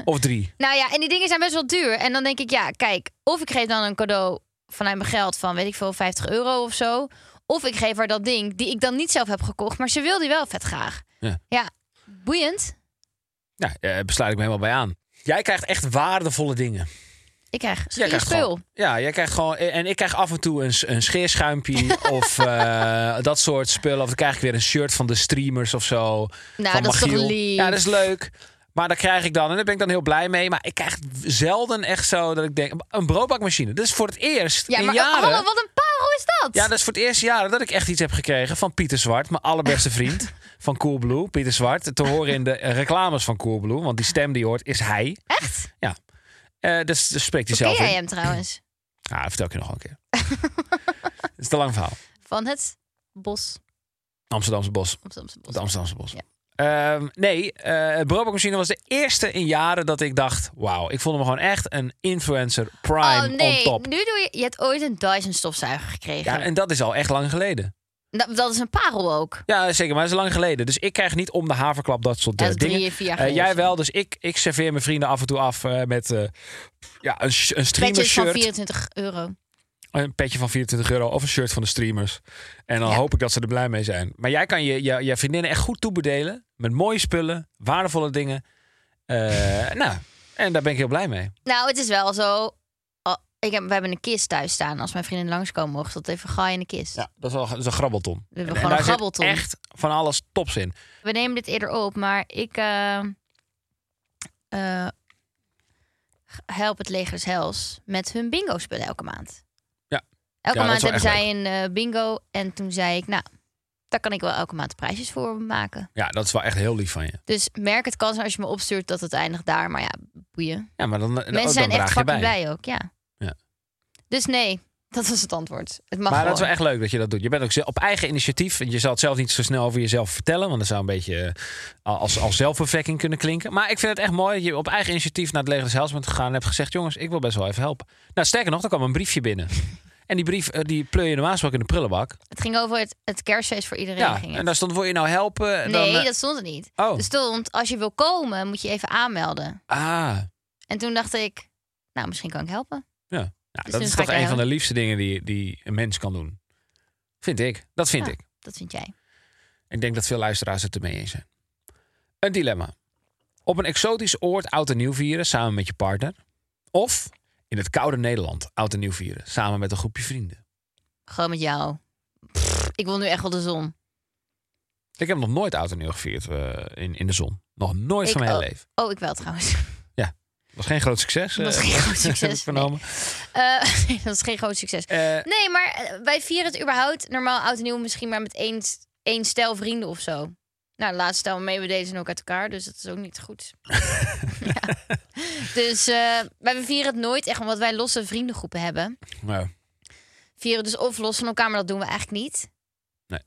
Speaker 1: of drie.
Speaker 2: Nou ja, en die dingen zijn best wel duur. En dan denk ik, ja, kijk, of ik geef dan een cadeau vanuit mijn geld van, weet ik veel, 50 euro of zo. Of ik geef haar dat ding die ik dan niet zelf heb gekocht, maar ze wil die wel vet graag.
Speaker 1: Ja.
Speaker 2: boeiend.
Speaker 1: Ja, daar Nou, eh, besluit ik me helemaal bij aan. Jij krijgt echt waardevolle dingen.
Speaker 2: Ik krijg
Speaker 1: Jij
Speaker 2: schier
Speaker 1: krijgt
Speaker 2: spul.
Speaker 1: gewoon, ja, jij krijgt gewoon. eh, En ik krijg af en toe een, s- een
Speaker 2: <laughs>
Speaker 1: scheerschuimpje of eh, dat soort spullen. Of dan krijg ik weer een shirt van de streamers of zo.
Speaker 2: Nou,
Speaker 1: van
Speaker 2: dat is toch
Speaker 1: Magiel.
Speaker 2: lief.
Speaker 1: Ja, dat is leuk. Maar dat krijg ik dan. En daar ben ik dan heel blij mee. Maar ik krijg zelden echt zo dat ik denk. Een broodbakmachine. Dat is voor het eerst.
Speaker 2: Ja,
Speaker 1: in
Speaker 2: maar
Speaker 1: jaren,
Speaker 2: hallo, wat een parel is dat?
Speaker 1: Ja, dat is voor het eerste jaar dat ik echt iets heb gekregen van Pieter Zwart, mijn allerbeste vriend van Coolblue, Pieter Zwart. Te horen in de eh, reclames van Coolblue, want die stem die je hoort is hij.
Speaker 2: Echt?
Speaker 1: Ja. Eh dus, dus spreekt hij
Speaker 2: Ken
Speaker 1: zelf
Speaker 2: jij
Speaker 1: in.
Speaker 2: hem trouwens?
Speaker 1: Ah, dat vertel ik je nog wel een
Speaker 2: <laughs>
Speaker 1: keer. Het is te lang verhaal.
Speaker 2: Van het bos.
Speaker 1: Amsterdamse Bos.
Speaker 2: Amsterdamse bos.
Speaker 1: Het Amsterdamse Bos.
Speaker 2: Ja.
Speaker 1: Ehm, nee, eh het broodbakmachine was de eerste in jaren dat ik dacht... wauw, ik voelde me gewoon echt een influencer prime
Speaker 2: oh nee,
Speaker 1: on top.
Speaker 2: nu doe je... Je hebt ooit een Dyson stofzuiger gekregen.
Speaker 1: Ja, en dat is al echt lang geleden.
Speaker 2: dat, dat is een parel ook.
Speaker 1: Ja, zeker. Maar dat is lang geleden. Dus ik krijg niet om de haverklap dat soort
Speaker 2: Ja,
Speaker 1: eh,
Speaker 2: dat is
Speaker 1: dingen.
Speaker 2: drie, vier jaar
Speaker 1: Eh,
Speaker 2: geleden
Speaker 1: jij
Speaker 2: of zo.
Speaker 1: wel. Dus ik, ik serveer mijn vrienden af en toe af eh, met eh, ja, een, sh- een streamer
Speaker 2: Petjes van
Speaker 1: shirt.
Speaker 2: 24 euro.
Speaker 1: Een petje van 24 euro of een shirt van de streamers. En dan
Speaker 2: Ja.
Speaker 1: hoop ik dat ze er blij mee zijn. Maar jij kan je, je, je vriendinnen echt goed toebedelen. Met mooie spullen, waardevolle dingen. Eh, <laughs> nou, en daar ben ik heel blij mee.
Speaker 2: Nou, het is wel zo. Oh, ik heb, we hebben een kist thuis staan. Als mijn vrienden langskomen, mocht dat even gooien in de kist.
Speaker 1: Ja, dat is wel dat is een grabbelton.
Speaker 2: We hebben
Speaker 1: En- en
Speaker 2: gewoon
Speaker 1: daar
Speaker 2: een
Speaker 1: zit
Speaker 2: grabbelton.
Speaker 1: echt van alles tops in.
Speaker 2: We nemen dit eerder op, maar ik eh, eh, Help het Leger des Hels met hun bingo spelen elke maand.
Speaker 1: Ja.
Speaker 2: Elke
Speaker 1: Ja, dat
Speaker 2: maand
Speaker 1: is wel
Speaker 2: hebben
Speaker 1: echt
Speaker 2: zij een eh, bingo. En toen zei ik, nou, daar kan ik wel elke maand prijsjes voor maken.
Speaker 1: Ja, dat is wel echt heel lief van je.
Speaker 2: Dus merk het kan zijn als je me opstuurt dat het eindigt daar. Maar ja, boeien.
Speaker 1: Ja, maar dan, dan,
Speaker 2: Mensen zijn
Speaker 1: draag
Speaker 2: echt
Speaker 1: je bij.
Speaker 2: fucking blij ook, ja.
Speaker 1: Ja.
Speaker 2: Dus nee, <laughs> dat was het antwoord. Het mag
Speaker 1: Maar
Speaker 2: gewoon.
Speaker 1: dat is wel echt leuk dat je dat doet. Je bent ook ze- op eigen initiatief. en Je zal het zelf niet zo snel over jezelf vertellen. Want dat zou een beetje eh, als, als zelfbevlekking kunnen klinken. Maar ik vind het echt mooi dat je op eigen initiatief naar het Leger des Heils bent gegaan. En hebt gezegd, jongens, ik wil best wel even helpen. Nou, sterker nog, er kwam een briefje binnen. En die brief, eh, die pleur je normaal gesproken in de prullenbak.
Speaker 2: Het ging over het, het kerstfeest voor iedereen.
Speaker 1: Ja,
Speaker 2: ging
Speaker 1: en
Speaker 2: het.
Speaker 1: daar stond, wil je nou helpen? En dan,
Speaker 2: nee,
Speaker 1: eh,
Speaker 2: dat stond er niet.
Speaker 1: Oh.
Speaker 2: Er stond, als je wil komen, moet je even aanmelden.
Speaker 1: Ah, ja.
Speaker 2: En toen dacht ik, nou, misschien kan ik helpen.
Speaker 1: Nou,
Speaker 2: Dus
Speaker 1: dat
Speaker 2: nu
Speaker 1: is
Speaker 2: ga
Speaker 1: toch
Speaker 2: ik
Speaker 1: een van de
Speaker 2: helpen.
Speaker 1: liefste dingen die, die een mens kan doen. Vind ik. Dat vind
Speaker 2: Ja.
Speaker 1: ik.
Speaker 2: Dat vind jij.
Speaker 1: Ik denk dat veel luisteraars het ermee eens zijn. Een dilemma. Op een exotisch oord oud en nieuw vieren samen met je partner. Of in het koude Nederland oud en nieuw vieren samen met een groepje vrienden.
Speaker 2: Gewoon met jou. Pff, ik wil nu echt wel de zon.
Speaker 1: Ik heb nog nooit oud en nieuw gevierd eh, in, in de zon. Nog nooit
Speaker 2: Ik
Speaker 1: van mijn hele
Speaker 2: ook.
Speaker 1: leven.
Speaker 2: Oh, ik wel trouwens. <laughs>
Speaker 1: Was geen groot succes.
Speaker 2: Was
Speaker 1: eh, <laughs>
Speaker 2: geen groot
Speaker 1: heb ik
Speaker 2: succes,
Speaker 1: vernomen.
Speaker 2: Eh, <laughs> nee, dat is geen groot succes.
Speaker 1: Eh,
Speaker 2: Nee, maar eh, wij vieren het überhaupt normaal oud en nieuw misschien maar met één, één stel vrienden of zo. Nou, de laatste stel mee we deze ook uit elkaar, dus dat is ook niet goed. ja. Dus eh, wij vieren het nooit echt, omdat wij losse vriendengroepen hebben.
Speaker 1: nou,
Speaker 2: Vieren dus of los van elkaar, maar dat doen we eigenlijk niet.
Speaker 1: Nee.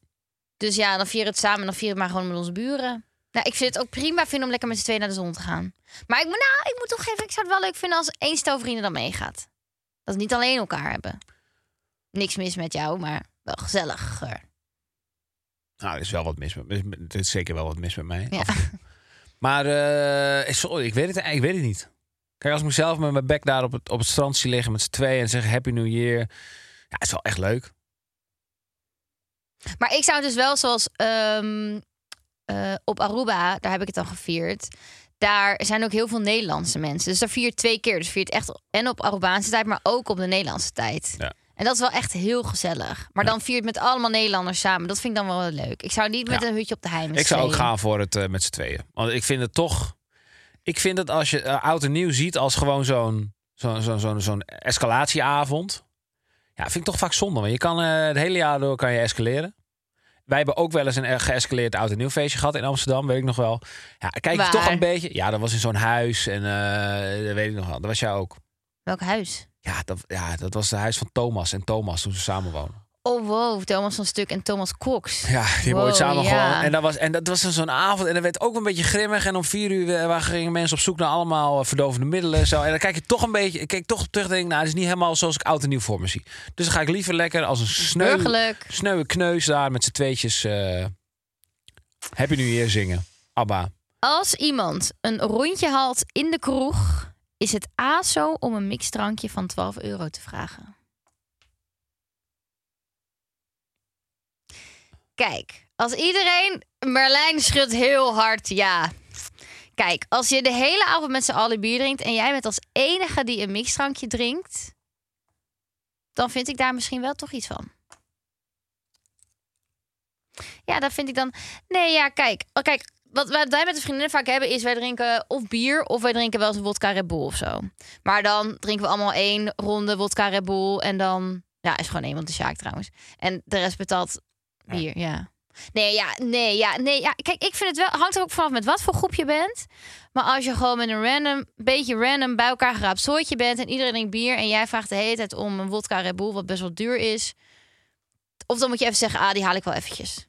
Speaker 2: Dus ja, dan vieren we het samen, dan vieren we het maar gewoon met onze buren. Nou, ik vind het ook prima vinden om lekker met z'n tweeën naar de zon te gaan. Maar ik, moet- nou, ik moet toch even, ik zou het wel leuk vinden als één stel vrienden dan meegaat. Dat we niet alleen elkaar hebben. Niks mis met jou, maar wel gezelliger.
Speaker 1: nou, er is wel wat mis met Er is zeker wel wat mis met mij.
Speaker 2: Ja.
Speaker 1: Af- Maar eh, sorry, ik weet, het, ik weet het niet. Kijk, als ik mezelf met mijn bek daar op het, op het strand zie liggen met z'n tweeën en zeggen Happy New Year. Ja, het is wel echt leuk.
Speaker 2: Maar ik zou dus wel zoals ehm, eh, op Aruba, daar heb ik het dan gevierd. Daar zijn ook heel veel Nederlandse mensen. Dus daar vier je twee keer. Dus vier je het echt en op Arubaanse tijd, maar ook op de Nederlandse tijd.
Speaker 1: Ja.
Speaker 2: En dat is wel echt heel gezellig. Maar dan vier je het met allemaal Nederlanders samen. Dat vind ik dan wel leuk. Ik zou niet met
Speaker 1: Ja.
Speaker 2: een hutje op de hei. met
Speaker 1: Ik zou ook
Speaker 2: z'n tweeën.
Speaker 1: gaan voor het eh, met z'n tweeën. Want ik vind het toch. Ik vind het als je eh, oud en nieuw ziet als gewoon zo'n zo'n zo'n zo'n zo'n escalatieavond. Ja, vind ik toch vaak zonde. Want je kan eh, het hele jaar door kan je escaleren. Wij hebben ook wel eens een eh, geëscaleerd oud en nieuw feestje gehad in Amsterdam, weet ik nog wel. Ja, kijk je
Speaker 2: Waar?
Speaker 1: toch een beetje. Ja, dat was in zo'n huis en eh, dat weet ik nog wel. Dat was jij ook.
Speaker 2: Welk huis?
Speaker 1: Ja dat, ja, dat was het huis van Thomas en Thomas toen ze samen woonden.
Speaker 2: Oh wow, Thomas van Stuk en Thomas Cox.
Speaker 1: Ja, die hebben ooit
Speaker 2: Wow,
Speaker 1: samen
Speaker 2: ja.
Speaker 1: gewoon. En dat was, en dat was dan zo'n avond. En dat werd ook een beetje grimmig. En om vier uur eh, waar gingen mensen op zoek naar allemaal eh, verdovende middelen. en Zo. En dan kijk je toch een beetje. Ik kijk toch op terug en denk, nou, het is niet helemaal zoals ik oud en nieuw voor me zie. Dus dan ga ik liever lekker als een sneu,
Speaker 2: Burgerlijk.
Speaker 1: sneuwe kneus daar met z'n tweetjes. eh heb je nu hier zingen? Abba.
Speaker 2: Als iemand een rondje haalt in de kroeg, is het ASO om een mixdrankje van 12 euro te vragen. Kijk, als iedereen. Merlijn schudt heel hard ja. Kijk, als je de hele avond met z'n allen bier drinkt en jij bent als enige die een mixdrankje drinkt, dan vind ik daar misschien wel toch iets van. Ja, dat vind ik dan. Nee, ja, kijk. Oh, kijk, wat wat wij met de vriendinnen vaak hebben is wij drinken of bier of wij drinken wel eens een wodka Red Bull of zo. Maar dan drinken we allemaal één ronde wodka Red Bull en dan ja, is gewoon één want de Sjaak trouwens. En de rest betaalt bier, ja. Nee, ja, nee, ja, nee, ja. Kijk, ik vind het wel hangt er ook vanaf met wat voor groep je bent. Maar als je gewoon met een random, beetje random bij elkaar geraapt zooitje bent en iedereen drinkt bier en jij vraagt de hele tijd om een wodka Red Bull wat best wel duur is, of dan moet je even zeggen, ah, die haal ik wel eventjes.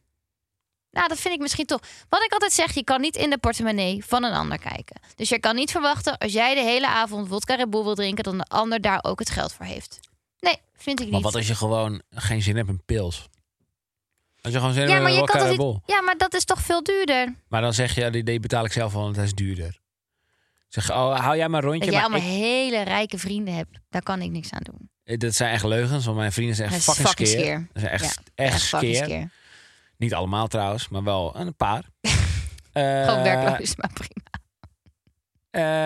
Speaker 2: Nou, dat vind ik misschien toch. Wat ik altijd zeg, je kan niet in de portemonnee van een ander kijken. Dus je kan niet verwachten als jij de hele avond wodka Red Bull wil drinken, dan de ander daar ook het geld voor heeft. Nee, vind ik
Speaker 1: Maar
Speaker 2: niet.
Speaker 1: wat als je gewoon geen zin hebt in pils? Als je gewoon zin
Speaker 2: ja,
Speaker 1: hebt
Speaker 2: maar
Speaker 1: in
Speaker 2: je kan
Speaker 1: elkaar
Speaker 2: toch niet. Ja, maar dat is toch veel duurder.
Speaker 1: Maar dan zeg je, ja, die, die betaal ik zelf wel, want dat is duurder. Zeg, oh, hou jij maar een rondje.
Speaker 2: Dat jij
Speaker 1: maar
Speaker 2: allemaal
Speaker 1: ik-
Speaker 2: hele rijke vrienden hebt, daar kan ik niks aan doen.
Speaker 1: Eh, Dat zijn echt leugens, want mijn vrienden zijn echt
Speaker 2: Dat is
Speaker 1: fucking,
Speaker 2: fucking
Speaker 1: skeer.
Speaker 2: skeer.
Speaker 1: Dat zijn echt,
Speaker 2: Ja,
Speaker 1: echt,
Speaker 2: fucking
Speaker 1: skeer.
Speaker 2: skeer.
Speaker 1: Niet allemaal trouwens, maar wel een
Speaker 2: <laughs>
Speaker 1: paar. Eh,
Speaker 2: Gewoon werkloos, maar prima.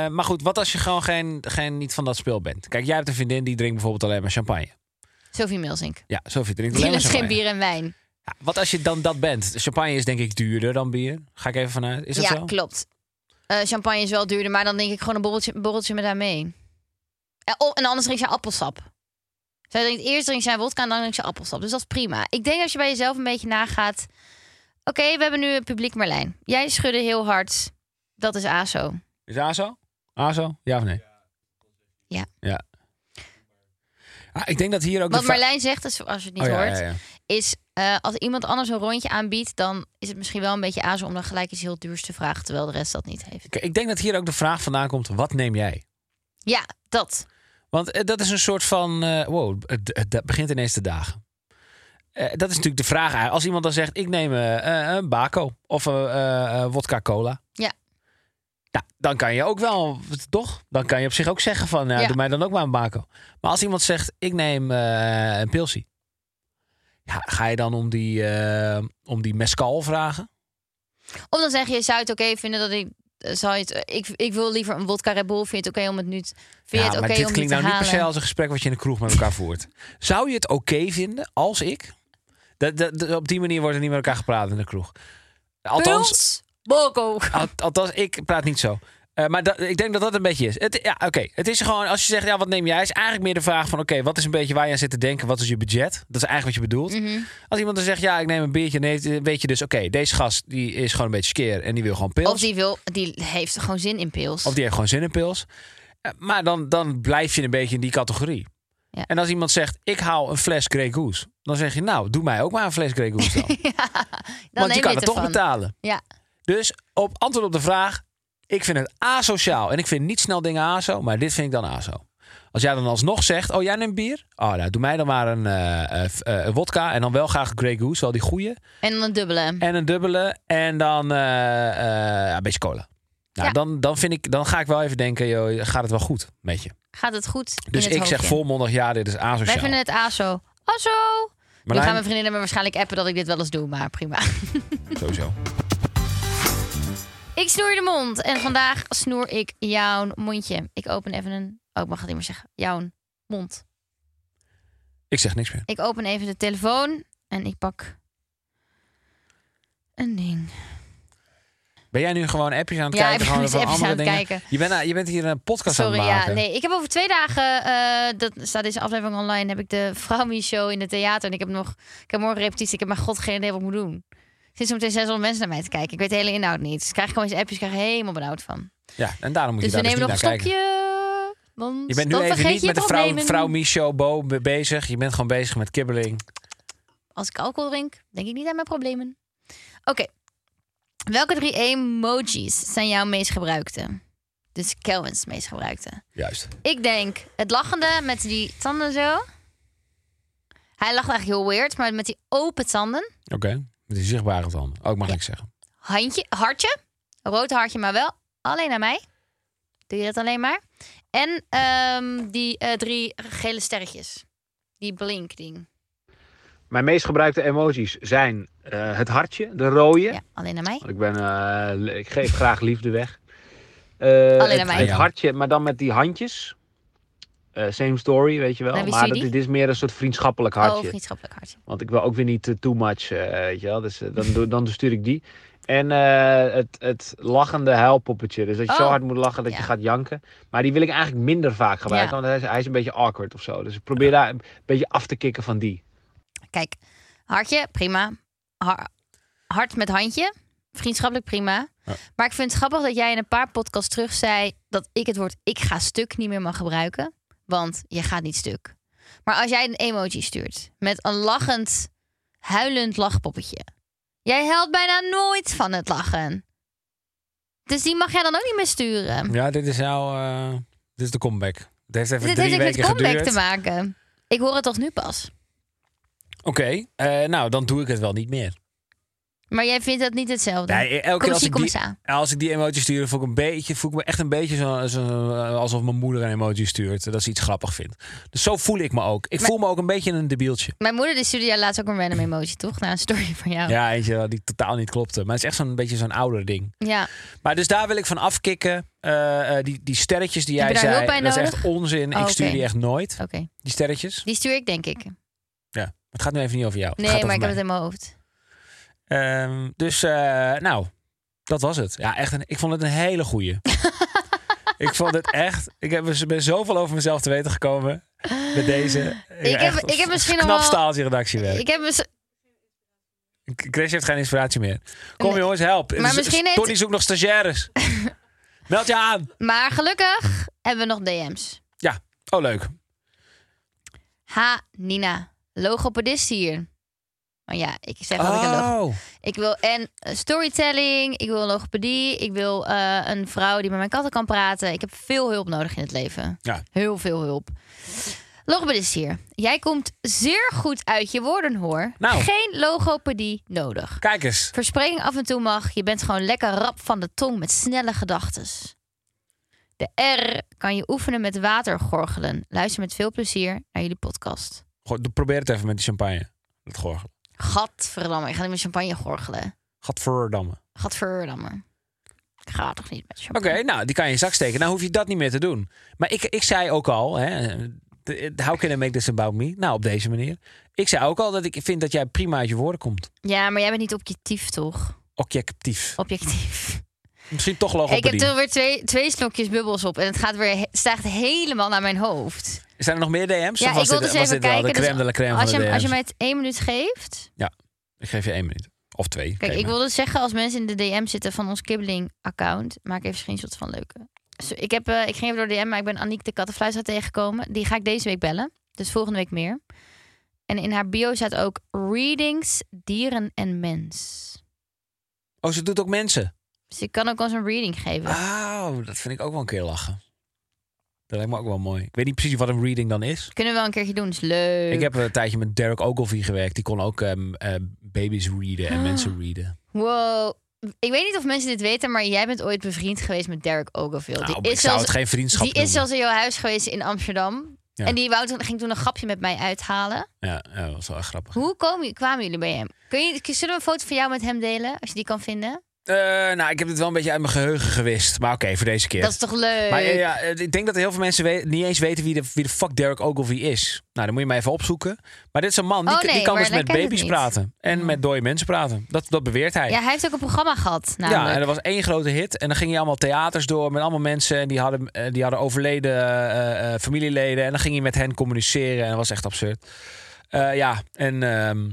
Speaker 1: eh, maar goed, wat als je gewoon geen, geen, niet van dat speel bent? Kijk, jij hebt een vriendin die drinkt bijvoorbeeld alleen maar champagne.
Speaker 2: Sophie Milsink.
Speaker 1: Ja, Sophie drinkt
Speaker 2: Die
Speaker 1: alleen maar
Speaker 2: lust geen
Speaker 1: champagne.
Speaker 2: bier en wijn.
Speaker 1: Ja, wat als je dan dat bent? Champagne is denk ik duurder dan bier. Ga ik even vanuit. Is dat
Speaker 2: ja,
Speaker 1: zo?
Speaker 2: klopt. Eh, champagne is wel duurder, maar dan denk ik gewoon een borreltje, borreltje met haar mee. Eh, oh, En anders drinkt ze appelsap. Zij drinkt eerst drinkt zij wodka en dan drinkt ze appelsap. Dus dat is prima. Ik denk als je bij jezelf een beetje nagaat. Oké, we hebben nu een publiek Merlijn. Jij schudde heel hard. Dat is ASO.
Speaker 1: Is ASO? ASO? Ja of nee?
Speaker 2: Ja.
Speaker 1: Ja. Ah, ik denk dat hier ook...
Speaker 2: Wat
Speaker 1: de fa-
Speaker 2: Merlijn zegt, is, als je het niet
Speaker 1: Oh, ja,
Speaker 2: hoort,
Speaker 1: ja, ja.
Speaker 2: is eh, als iemand anders een rondje aanbiedt, dan is het misschien wel een beetje azen om dan gelijk iets heel duurs te vragen, terwijl de rest dat niet heeft.
Speaker 1: Ik, ik denk dat hier ook de vraag vandaan komt, wat neem jij?
Speaker 2: Ja, dat.
Speaker 1: Want eh, dat is een soort van, eh, wow, het, het- het begint ineens te dagen. Eh, dat is natuurlijk de vraag eigenlijk. Als iemand dan zegt, ik neem eh, eh, een bako of eh eh, eh, wodka cola.
Speaker 2: Ja.
Speaker 1: Nou, dan kan je ook wel, toch? Dan kan je op zich ook zeggen van, nou,
Speaker 2: Ja.
Speaker 1: doe mij dan ook maar een bako. Maar als iemand zegt, ik neem eh, een pilsie. Ja, ga je dan om die, eh, om die mescal vragen?
Speaker 2: Of dan zeg je, zou je het oké vinden dat ik. eh, Zou je het, ik, ik wil liever een wodka Red Bull. Vind je het oké om het nu. te- Vind je
Speaker 1: ja,
Speaker 2: het
Speaker 1: maar
Speaker 2: oké
Speaker 1: dit
Speaker 2: om die
Speaker 1: klinkt
Speaker 2: te
Speaker 1: nou niet per se
Speaker 2: halen?
Speaker 1: als een gesprek wat je in de kroeg met elkaar voert. Zou je het oké vinden als ik... Dat, dat, dat- op die manier wordt er niet met elkaar gepraat in de kroeg. Althans,
Speaker 2: Puls, Boko.
Speaker 1: al- althans ik praat niet zo. Eh, maar dat, ik denk dat dat een beetje is. Het, ja, oké. Het is gewoon, als je zegt, ja, wat neem jij? Is eigenlijk meer de vraag van, oké, wat is een beetje waar je aan zit te denken? Wat is je budget? Dat is eigenlijk wat je bedoelt.
Speaker 2: Mhm.
Speaker 1: Als iemand dan zegt, ja, ik neem een biertje, dan heeft- weet je dus, oké, deze gast die is gewoon een beetje skeer en die wil gewoon pils.
Speaker 2: Of die, wil, die heeft gewoon zin in pils. <laughs>
Speaker 1: Of die heeft gewoon zin in pils. Eh, Maar dan, dan blijf je een beetje in die categorie.
Speaker 2: Ja.
Speaker 1: En als iemand zegt, ik haal een fles Grey Goose. Dan zeg je, nou, doe mij ook maar een fles Grey Goose dan.
Speaker 2: <laughs> dan
Speaker 1: Want je
Speaker 2: neem
Speaker 1: kan
Speaker 2: het
Speaker 1: het toch
Speaker 2: ervan.
Speaker 1: betalen.
Speaker 2: Ja.
Speaker 1: Dus op antwoord op de vraag, ik vind het asociaal. En ik vind niet snel dingen aso, maar dit vind ik dan aso. Als jij dan alsnog zegt, oh jij neemt bier? Oh nou, doe mij dan maar een eh, eh, f- eh, een wodka. En dan wel graag Grey Goose, wel die goeie.
Speaker 2: En dan een dubbele.
Speaker 1: En een dubbele. En dan eh, eh, een beetje cola. Nou,
Speaker 2: Ja.
Speaker 1: dan, dan, vind ik, dan ga ik wel even denken, joh, gaat het wel goed met je?
Speaker 2: Gaat het goed? in
Speaker 1: Dus
Speaker 2: het
Speaker 1: ik zeg
Speaker 2: hoofdje?
Speaker 1: volmondig ja, dit is
Speaker 2: Wij
Speaker 1: asociaal.
Speaker 2: vinden het ASO. ASO. Nu
Speaker 1: Marlijn?
Speaker 2: gaan mijn vriendinnen me waarschijnlijk appen dat ik dit wel eens doe, maar prima. <laughs>
Speaker 1: Sowieso.
Speaker 2: Ik snoer de mond en vandaag snoer ik jouw mondje. Ik open even een... Oh, ik mag het niet meer zeggen. Jouw mond.
Speaker 1: Ik zeg niks meer.
Speaker 2: Ik open even de telefoon en ik pak een ding.
Speaker 1: Ben jij nu gewoon appjes aan het
Speaker 2: Ja,
Speaker 1: kijken?
Speaker 2: ik ben
Speaker 1: gewoon
Speaker 2: dus
Speaker 1: van
Speaker 2: appjes
Speaker 1: andere
Speaker 2: aan het
Speaker 1: dingen?
Speaker 2: kijken.
Speaker 1: Je bent, eh, je bent hier een podcast
Speaker 2: Sorry,
Speaker 1: aan het
Speaker 2: ja.
Speaker 1: maken.
Speaker 2: Nee, ik heb over twee dagen, eh, dat staat deze aflevering online, heb ik de Vrouwmie Show in het theater. En ik heb nog, ik heb morgen repetitie. Ik heb maar god geen idee wat ik moet doen. Er zitten meteen 600 mensen naar mij te kijken. Ik weet de hele inhoud niet. Dus krijg ik gewoon eens appjes, ik krijg er helemaal benauwd van.
Speaker 1: Ja, en daarom moet
Speaker 2: Dus
Speaker 1: je
Speaker 2: we
Speaker 1: daar dus
Speaker 2: nemen
Speaker 1: niet
Speaker 2: nog
Speaker 1: naar
Speaker 2: een
Speaker 1: kijken.
Speaker 2: stokje. Want
Speaker 1: Je bent nu
Speaker 2: dan
Speaker 1: even
Speaker 2: vergeet
Speaker 1: niet
Speaker 2: je
Speaker 1: met de vrouw,
Speaker 2: problemen.
Speaker 1: vrouw Michel Bo be- bezig. Je bent gewoon bezig met kibbeling.
Speaker 2: Als ik alcohol drink, denk ik niet aan mijn problemen. Oké. Welke drie emojis zijn jouw meest gebruikte? Dus Kelvin's meest gebruikte.
Speaker 1: Juist.
Speaker 2: Ik denk het lachende met die tanden zo. Hij lacht eigenlijk heel weird, maar met die open tanden.
Speaker 1: Oké. Met die zichtbare tanden. Oh, ik mag niks zeggen.
Speaker 2: Handje, hartje. Rood hartje, maar wel alleen aan mij. Doe je dat alleen maar. En ehm, die eh, drie gele sterretjes. Die blink ding.
Speaker 5: Mijn meest gebruikte emojis zijn eh, het hartje, de rode.
Speaker 2: Ja, alleen aan mij.
Speaker 5: Want ik, ben, eh, le- ik geef graag liefde weg. Eh,
Speaker 2: aan
Speaker 5: het,
Speaker 2: mij.
Speaker 5: het
Speaker 1: Ja.
Speaker 5: hartje, maar dan met die handjes. Eh, same story, weet je wel.
Speaker 2: Maar Nou, wie
Speaker 5: maar
Speaker 2: zie die?
Speaker 5: dat, dit is meer een soort vriendschappelijk
Speaker 2: Oh,
Speaker 5: hartje.
Speaker 2: vriendschappelijk hartje.
Speaker 5: Want ik wil ook weer niet eh, too much, eh, weet je wel. Dus eh, dan,
Speaker 2: <laughs>
Speaker 5: doe- dan stuur ik die. En eh, het, het lachende huilpoppetje. Dus dat je zo
Speaker 2: Oh.
Speaker 5: hard moet lachen dat
Speaker 2: Ja.
Speaker 5: je gaat janken. Maar die wil ik eigenlijk minder vaak gebruiken.
Speaker 2: Ja.
Speaker 5: Want hij is, hij is een beetje awkward of zo. Dus ik probeer daar een beetje af te kicken van die.
Speaker 2: Kijk, hartje, prima. Har- hart met handje, vriendschappelijk prima. Maar ik vind het grappig dat jij in een paar podcasts terug zei... dat ik het woord ik ga stuk niet meer mag gebruiken. Want je gaat niet stuk. Maar als jij een emoji stuurt met een lachend, huilend lachpoppetje... jij huilt bijna nooit van het lachen. Dus die mag jij dan ook niet meer sturen.
Speaker 1: Ja, dit is jouw... eh, dit is de comeback. Het heeft even
Speaker 2: Dit
Speaker 1: drie
Speaker 2: heeft niks
Speaker 1: weken
Speaker 2: met comeback
Speaker 1: geduurd.
Speaker 2: te maken. Ik hoor het toch nu pas.
Speaker 1: Oké. eh, nou, dan doe ik het wel niet meer.
Speaker 2: Maar jij vindt dat niet hetzelfde.
Speaker 1: Nee, elke
Speaker 2: Kom
Speaker 1: keer als
Speaker 2: zie,
Speaker 1: ik,
Speaker 2: kom
Speaker 1: die,
Speaker 2: eens aan.
Speaker 1: als ik die emotie stuur, voel ik, een beetje, voel ik me echt een beetje zo, zo- eh, alsof mijn moeder een emotie stuurt. eh, Dat ze iets grappig vindt. Dus zo voel ik me ook. Ik voel me ook een beetje een debieltje.
Speaker 2: Mijn moeder die stuurde jou laatst ook een
Speaker 1: <laughs>
Speaker 2: random emoji, toch? Na een story van jou.
Speaker 1: Ja, eentje wel die totaal niet klopte. Maar het is echt zo'n beetje zo'n ouder ding.
Speaker 2: Ja.
Speaker 1: Maar dus daar wil ik van afkikken. Eh, eh, die, die sterretjes die
Speaker 2: Heb
Speaker 1: jij
Speaker 2: je daar
Speaker 1: zei,
Speaker 2: hulp bij
Speaker 1: dat is
Speaker 2: nodig?
Speaker 1: echt onzin.
Speaker 2: Oh,
Speaker 1: ik stuur
Speaker 2: oké.
Speaker 1: die echt nooit,
Speaker 2: Oké.
Speaker 1: die sterretjes.
Speaker 2: Die stuur ik, denk ik. Nee,
Speaker 1: Ja. Het gaat nu even niet over jou. Het
Speaker 2: maar
Speaker 1: gaat
Speaker 2: ik
Speaker 1: over
Speaker 2: heb
Speaker 1: mij.
Speaker 2: het in mijn hoofd. <laughs>
Speaker 1: Ehm, dus eh, nou, dat was het. Ja, echt een, ik vond het een hele goeie. ik vond het echt. Ik heb, ik ben zoveel over mezelf te weten gekomen. Met deze.
Speaker 2: Ik heb- ik heb misschien nog
Speaker 1: knap
Speaker 2: wel-
Speaker 1: staaltje redactiewerk.
Speaker 2: Ik heb dus- mis-
Speaker 1: Chris heeft geen inspiratie meer. Kom
Speaker 2: Nee.
Speaker 1: jongens, help.
Speaker 2: Maar misschien heeft-
Speaker 1: Tony zoekt nog
Speaker 2: <laughs>
Speaker 1: stagiaires. Meld je aan.
Speaker 2: maar gelukkig hebben we nog DM's.
Speaker 1: Ja. Oh, leuk.
Speaker 2: Ha, Nina, logopedist hier. Oh ja, ik zeg dat ik een log.
Speaker 1: Oh.
Speaker 2: Ik wil en eh, storytelling, ik wil logopedie, ik wil eh, een vrouw die met mijn katten kan praten. Ik heb veel hulp nodig in het leven.
Speaker 1: Ja.
Speaker 2: Heel veel hulp. Logopedist hier. Jij komt zeer goed uit je woorden hoor.
Speaker 1: Nou.
Speaker 2: Geen logopedie nodig.
Speaker 1: Kijk eens.
Speaker 2: Verspreking af en toe mag. Je bent gewoon lekker rap van de tong met snelle gedachten. De R kan je oefenen met water gorgelen. Luister met veel plezier naar jullie podcast.
Speaker 1: Goh, doe- probeer het even met die champagne. Dat gorgelen.
Speaker 2: Gadverdamme, ik ga niet met champagne gorgelen.
Speaker 1: Gadverdamme.
Speaker 2: Gadverdamme. Ik ga toch niet met
Speaker 1: Oké,
Speaker 2: champagne.
Speaker 1: nou, die kan je in je zak steken. Nou hoef je dat niet meer te doen. Maar ik, ik zei ook al, hè, de- how can I make this about me? Nou, op deze manier. Ik zei ook al dat ik vind dat jij prima uit je woorden komt.
Speaker 2: Ja, maar jij bent niet objectief, toch?
Speaker 1: Objectief. <laughs>
Speaker 2: Objectief.
Speaker 1: Misschien toch
Speaker 2: Ik heb
Speaker 1: logopedie.
Speaker 2: er weer twee, twee slokjes bubbels op en het gaat weer, he- stijgt helemaal naar mijn hoofd.
Speaker 1: Zijn er nog meer DM's?
Speaker 2: ja,
Speaker 1: of was
Speaker 2: ik wil
Speaker 1: dit,
Speaker 2: dus
Speaker 1: was
Speaker 2: even
Speaker 1: dit wel
Speaker 2: kijken.
Speaker 1: de
Speaker 2: dus
Speaker 1: crème de la crème
Speaker 2: als,
Speaker 1: van de
Speaker 2: je,
Speaker 1: DM's?
Speaker 2: als je mij het één minuut geeft,
Speaker 1: Ik geef je één minuut. Of twee.
Speaker 2: Kijk, ik wilde dus zeggen, als mensen in de DM zitten van ons Kibbeling-account, maak even screenshots van leuke. Dus ik, heb, eh, ik ging even door de DM, maar ik ben Aniek de Kattenfluister tegengekomen. Die ga ik deze week bellen. Dus volgende week meer. En in haar bio staat ook readings, dieren en mens.
Speaker 1: Oh, ze doet ook mensen.
Speaker 2: Dus ik kan ook ons een reading geven.
Speaker 1: Oh, dat vind ik ook wel een keer lachen. Dat lijkt me ook wel mooi. Ik weet niet precies wat een reading dan is.
Speaker 2: Kunnen we wel een keertje doen, is leuk.
Speaker 1: Ik heb een tijdje met Derek Ogilvie gewerkt. Die kon ook ehm, eh, baby's readen
Speaker 2: Ah.
Speaker 1: en mensen readen.
Speaker 2: Wow. Ik weet niet of mensen dit weten, maar jij bent ooit bevriend geweest met Derek Ogilvie.
Speaker 1: Nou,
Speaker 2: die
Speaker 1: ik
Speaker 2: is
Speaker 1: zou
Speaker 2: zelfs
Speaker 1: het geen vriendschap
Speaker 2: Die is
Speaker 1: noemen.
Speaker 2: zelfs in jouw huis geweest in Amsterdam.
Speaker 1: Ja.
Speaker 2: En die wou toen, ging toen een grapje met mij uithalen.
Speaker 1: Ja, ja, dat was wel echt grappig.
Speaker 2: Hoe komen, je- kwamen jullie bij hem? Kun je, zullen we een foto van jou met hem delen? Als je die kan vinden.
Speaker 1: Eh, nou, ik heb het wel een beetje uit mijn geheugen gewist. Maar oké, voor deze keer.
Speaker 2: Dat is toch leuk?
Speaker 1: Maar eh, ja, eh, ik denk dat heel veel mensen we- niet eens weten wie de, wie de fuck Derek Ogilvie is. Nou, dan moet je mij even opzoeken. Maar dit is een man, die,
Speaker 2: Oh,
Speaker 1: k-
Speaker 2: nee,
Speaker 1: die kan
Speaker 2: maar
Speaker 1: dus
Speaker 2: dan
Speaker 1: met
Speaker 2: ken ik het
Speaker 1: baby's
Speaker 2: niet. Oh.
Speaker 1: praten. En met dode mensen praten. Dat, dat beweert hij.
Speaker 2: Ja, hij heeft ook een programma gehad. Namelijk.
Speaker 1: Ja, en dat was één grote hit. En dan ging je allemaal theaters door met allemaal mensen. En die hadden, eh, die hadden overleden eh, eh, familieleden. En dan ging je met hen communiceren. En dat was echt absurd. Eh, ja, en, ehm,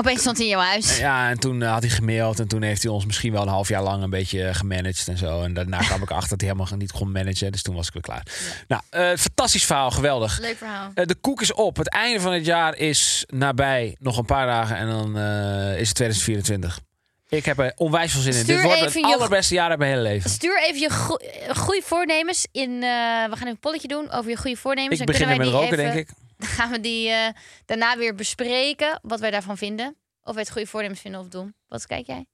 Speaker 2: Opeens stond hij in jouw huis.
Speaker 1: ja, en toen eh, had hij gemaild. En toen heeft hij ons misschien wel een half jaar lang een beetje eh, gemanaged en zo. En
Speaker 2: <laughs>
Speaker 1: daarna kwam ik achter dat hij helemaal niet kon managen. Dus toen was ik weer klaar. Nou, eh, fantastisch verhaal. Geweldig.
Speaker 2: Leuk verhaal.
Speaker 1: Eh, de koek is op. Het einde van het jaar is nabij. Nog een paar dagen en dan eh, is het 2024. Ik heb er onwijs veel zin in.
Speaker 2: Stuur
Speaker 1: Dit wordt
Speaker 2: even
Speaker 1: het
Speaker 2: je-
Speaker 1: allerbeste jaar uit mijn hele leven.
Speaker 2: Stuur even je go- eh, goede voornemens in. eh, we gaan even een polletje doen over je goede voornemens.
Speaker 1: Ik
Speaker 2: Dan
Speaker 1: begin
Speaker 2: kunnen
Speaker 1: er met
Speaker 2: wij
Speaker 1: roken,
Speaker 2: die even-
Speaker 1: denk ik.
Speaker 2: Dan gaan we die eh, daarna weer bespreken. Wat wij daarvan vinden. Of wij het goede voornemens vinden of doen. Wat kijk jij?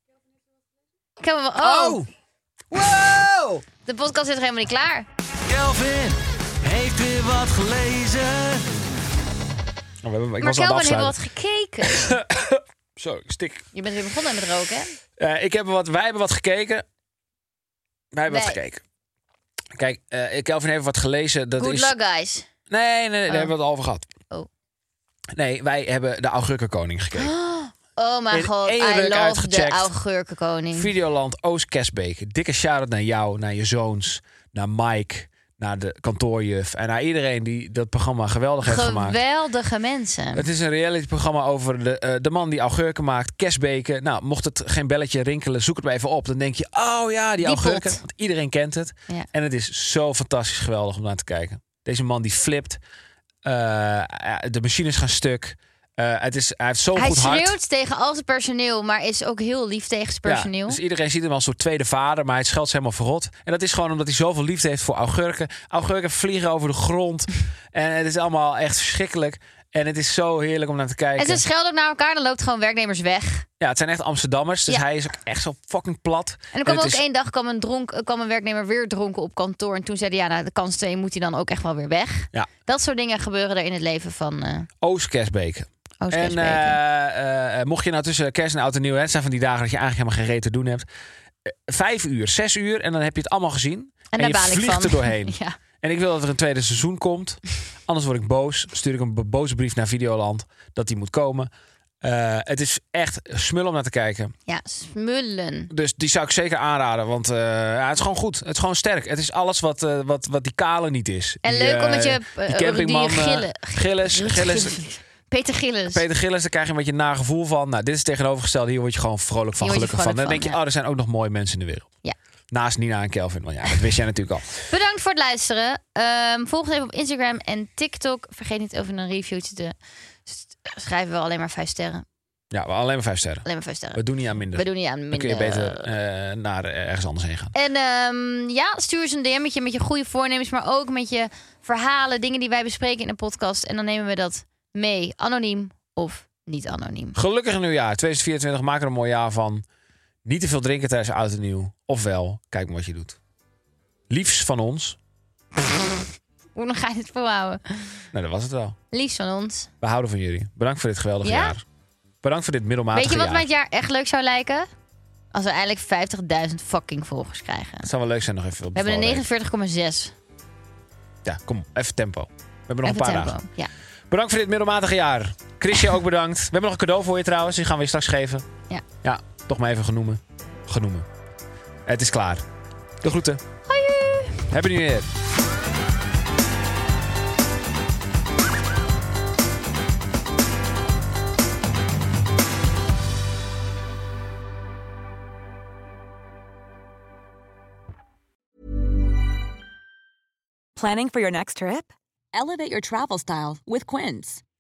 Speaker 2: Ik heb hem wel- oh,
Speaker 1: Wow!
Speaker 2: de podcast is nog helemaal niet klaar.
Speaker 1: Kelvin heeft weer wat gelezen. Oh, we hebben, ik
Speaker 2: maar
Speaker 1: was aan het
Speaker 2: Kelvin heeft wel
Speaker 1: afsluiten.
Speaker 2: wat gekeken.
Speaker 1: Zo, ik stik.
Speaker 2: Je bent weer begonnen met roken, hè?
Speaker 1: Eh, ik heb wat, wij hebben wat gekeken. Wij hebben
Speaker 2: Wij.
Speaker 1: wat gekeken. Kijk, eh Kelvin heeft wat gelezen. Dat
Speaker 2: Good
Speaker 1: is...
Speaker 2: luck, guys.
Speaker 1: Nee, nee, nee, daar
Speaker 2: Oh.
Speaker 1: hebben we het al over gehad.
Speaker 2: Oh.
Speaker 1: Nee, wij hebben de Augurkenkoning gekeken.
Speaker 2: Oh mijn
Speaker 1: In
Speaker 2: god,
Speaker 1: één
Speaker 2: I
Speaker 1: ruk
Speaker 2: love de
Speaker 1: uitgecheckt.
Speaker 2: augurkenkoning.
Speaker 1: Videoland Oost Kesbeek. Dikke shout-out naar jou, naar je zoons, naar Mike, naar de kantoorjuf en naar iedereen die dat programma geweldig heeft gemaakt.
Speaker 2: Geweldige mensen.
Speaker 1: Het is een realityprogramma over de, eh, de man die augurken maakt, kersbeken. Nou, mocht het geen belletje rinkelen, zoek het maar even op. Dan denk je, oh ja, die,
Speaker 2: Die
Speaker 1: augurken.
Speaker 2: pot.
Speaker 1: Want iedereen kent het.
Speaker 2: Ja.
Speaker 1: En het is zo fantastisch geweldig om naar te kijken. Deze man die flipt. eh, de machines gaan stuk. Eh, het is, hij heeft zo'n
Speaker 2: Hij
Speaker 1: goed hart.
Speaker 2: schreeuwt tegen al zijn personeel, maar is ook heel lief tegen zijn personeel.
Speaker 1: Ja, dus iedereen ziet hem als een soort tweede vader, maar hij scheldt ze helemaal verrot. En dat is gewoon omdat hij zoveel liefde heeft voor augurken. Augurken vliegen over de grond. <laughs> en het is allemaal echt verschrikkelijk. En het is zo heerlijk om naar te kijken.
Speaker 2: en ze schelden ook naar elkaar, dan loopt gewoon werknemers weg.
Speaker 1: Ja, het zijn echt Amsterdammers. Dus
Speaker 2: Ja.
Speaker 1: hij is ook echt zo fucking plat.
Speaker 2: En er kwam ook
Speaker 1: het is-
Speaker 2: één dag kwam een, dronk, eh, kwam een werknemer weer dronken op kantoor. En toen zeiden ja, nou, de kans twee moet hij dan ook echt wel weer weg.
Speaker 1: Ja.
Speaker 2: Dat soort dingen gebeuren er in het leven van eh
Speaker 1: Oost Kerstbeken.
Speaker 2: Oost
Speaker 1: En
Speaker 2: Kersbeken.
Speaker 1: eh, eh, mocht je nou tussen kerst en oud en nieuw... Hè, het zijn van die dagen dat je eigenlijk helemaal geen reet te doen hebt. eh, Vijf uur, zes uur en dan heb je het allemaal gezien.
Speaker 2: En daar
Speaker 1: je
Speaker 2: baal ik
Speaker 1: vliegt
Speaker 2: van.
Speaker 1: er doorheen.
Speaker 2: <laughs> ja.
Speaker 1: En ik wil dat er een tweede
Speaker 2: <laughs>
Speaker 1: seizoen komt. Anders word ik boos. Stuur ik een bo- boze brief naar Videoland dat die moet komen. Eh, Eh, het is echt smul om naar te kijken.
Speaker 2: Ja, smullen.
Speaker 1: Dus die zou ik zeker aanraden. Want eh, ja, het is gewoon goed. Het is gewoon sterk. Het is alles wat, eh, wat, wat die kale niet is.
Speaker 2: En
Speaker 1: Die,
Speaker 2: leuk
Speaker 1: eh,
Speaker 2: omdat je, eh,
Speaker 1: die campingman,
Speaker 2: die
Speaker 1: eh,
Speaker 2: Gille-
Speaker 1: Gillis. Gillis.
Speaker 2: Peter Gillis.
Speaker 1: Peter Gillis, daar krijg je een beetje een nagevoel van. Nou, dit is tegenovergesteld. Hier word je gewoon vrolijk van,
Speaker 2: Hier word je
Speaker 1: gelukkig van. Dan
Speaker 2: vrolijk
Speaker 1: denk je,
Speaker 2: van,
Speaker 1: oh, er zijn ook nog mooie mensen in de wereld.
Speaker 2: Ja.
Speaker 1: Naast Nina en Kelvin. Want ja, dat wist jij <laughs> natuurlijk al.
Speaker 2: Bedankt voor het luisteren. Ehm volg ons even op Instagram en TikTok. Vergeet niet over een reviewtje te s- schrijven. We alleen maar vijf sterren.
Speaker 1: Ja, maar alleen maar vijf sterren.
Speaker 2: Alleen maar vijf sterren.
Speaker 1: We doen niet aan minder.
Speaker 2: We doen niet aan minder.
Speaker 1: Dan kun je beter eh, naar eh, ergens anders heen gaan.
Speaker 2: En ehm, ja, stuur eens een DM'tje met je goede voornemens, maar ook met je verhalen, dingen die wij bespreken in de podcast. En dan nemen we dat mee, anoniem of niet anoniem.
Speaker 1: Gelukkig nieuwjaar 2024. Maak er een mooi jaar van. Niet te veel drinken tijdens oud en nieuw. Ofwel, kijk maar wat je doet. Liefs van ons.
Speaker 2: Hoe dan ga je het volhouden?
Speaker 1: Nou, dat was het wel.
Speaker 2: Liefst van ons.
Speaker 1: We houden van jullie. Bedankt voor dit geweldige
Speaker 2: Ja?
Speaker 1: jaar. Bedankt voor dit middelmatige
Speaker 2: Weet je wat
Speaker 1: jaar.
Speaker 2: mij het jaar echt leuk zou lijken? Als we eindelijk 50.000 fucking volgers krijgen.
Speaker 1: Het zou wel leuk zijn nog even op
Speaker 2: We
Speaker 1: de
Speaker 2: hebben
Speaker 1: valreep.
Speaker 2: een 49,6.
Speaker 1: Ja, kom, even tempo. We hebben nog
Speaker 2: Even
Speaker 1: een paar
Speaker 2: tempo.
Speaker 1: dagen.
Speaker 2: Ja.
Speaker 1: Bedankt voor dit middelmatige jaar. Chrisje ook bedankt. We hebben nog een cadeau voor je trouwens. Die gaan we je straks geven.
Speaker 2: Ja.
Speaker 1: Ja, toch maar even genoemen. Genoemen. Het is klaar. De groeten. Hoi. Hebben jullie weer.
Speaker 6: Planning for your next trip? Elevate your travel style with Quince.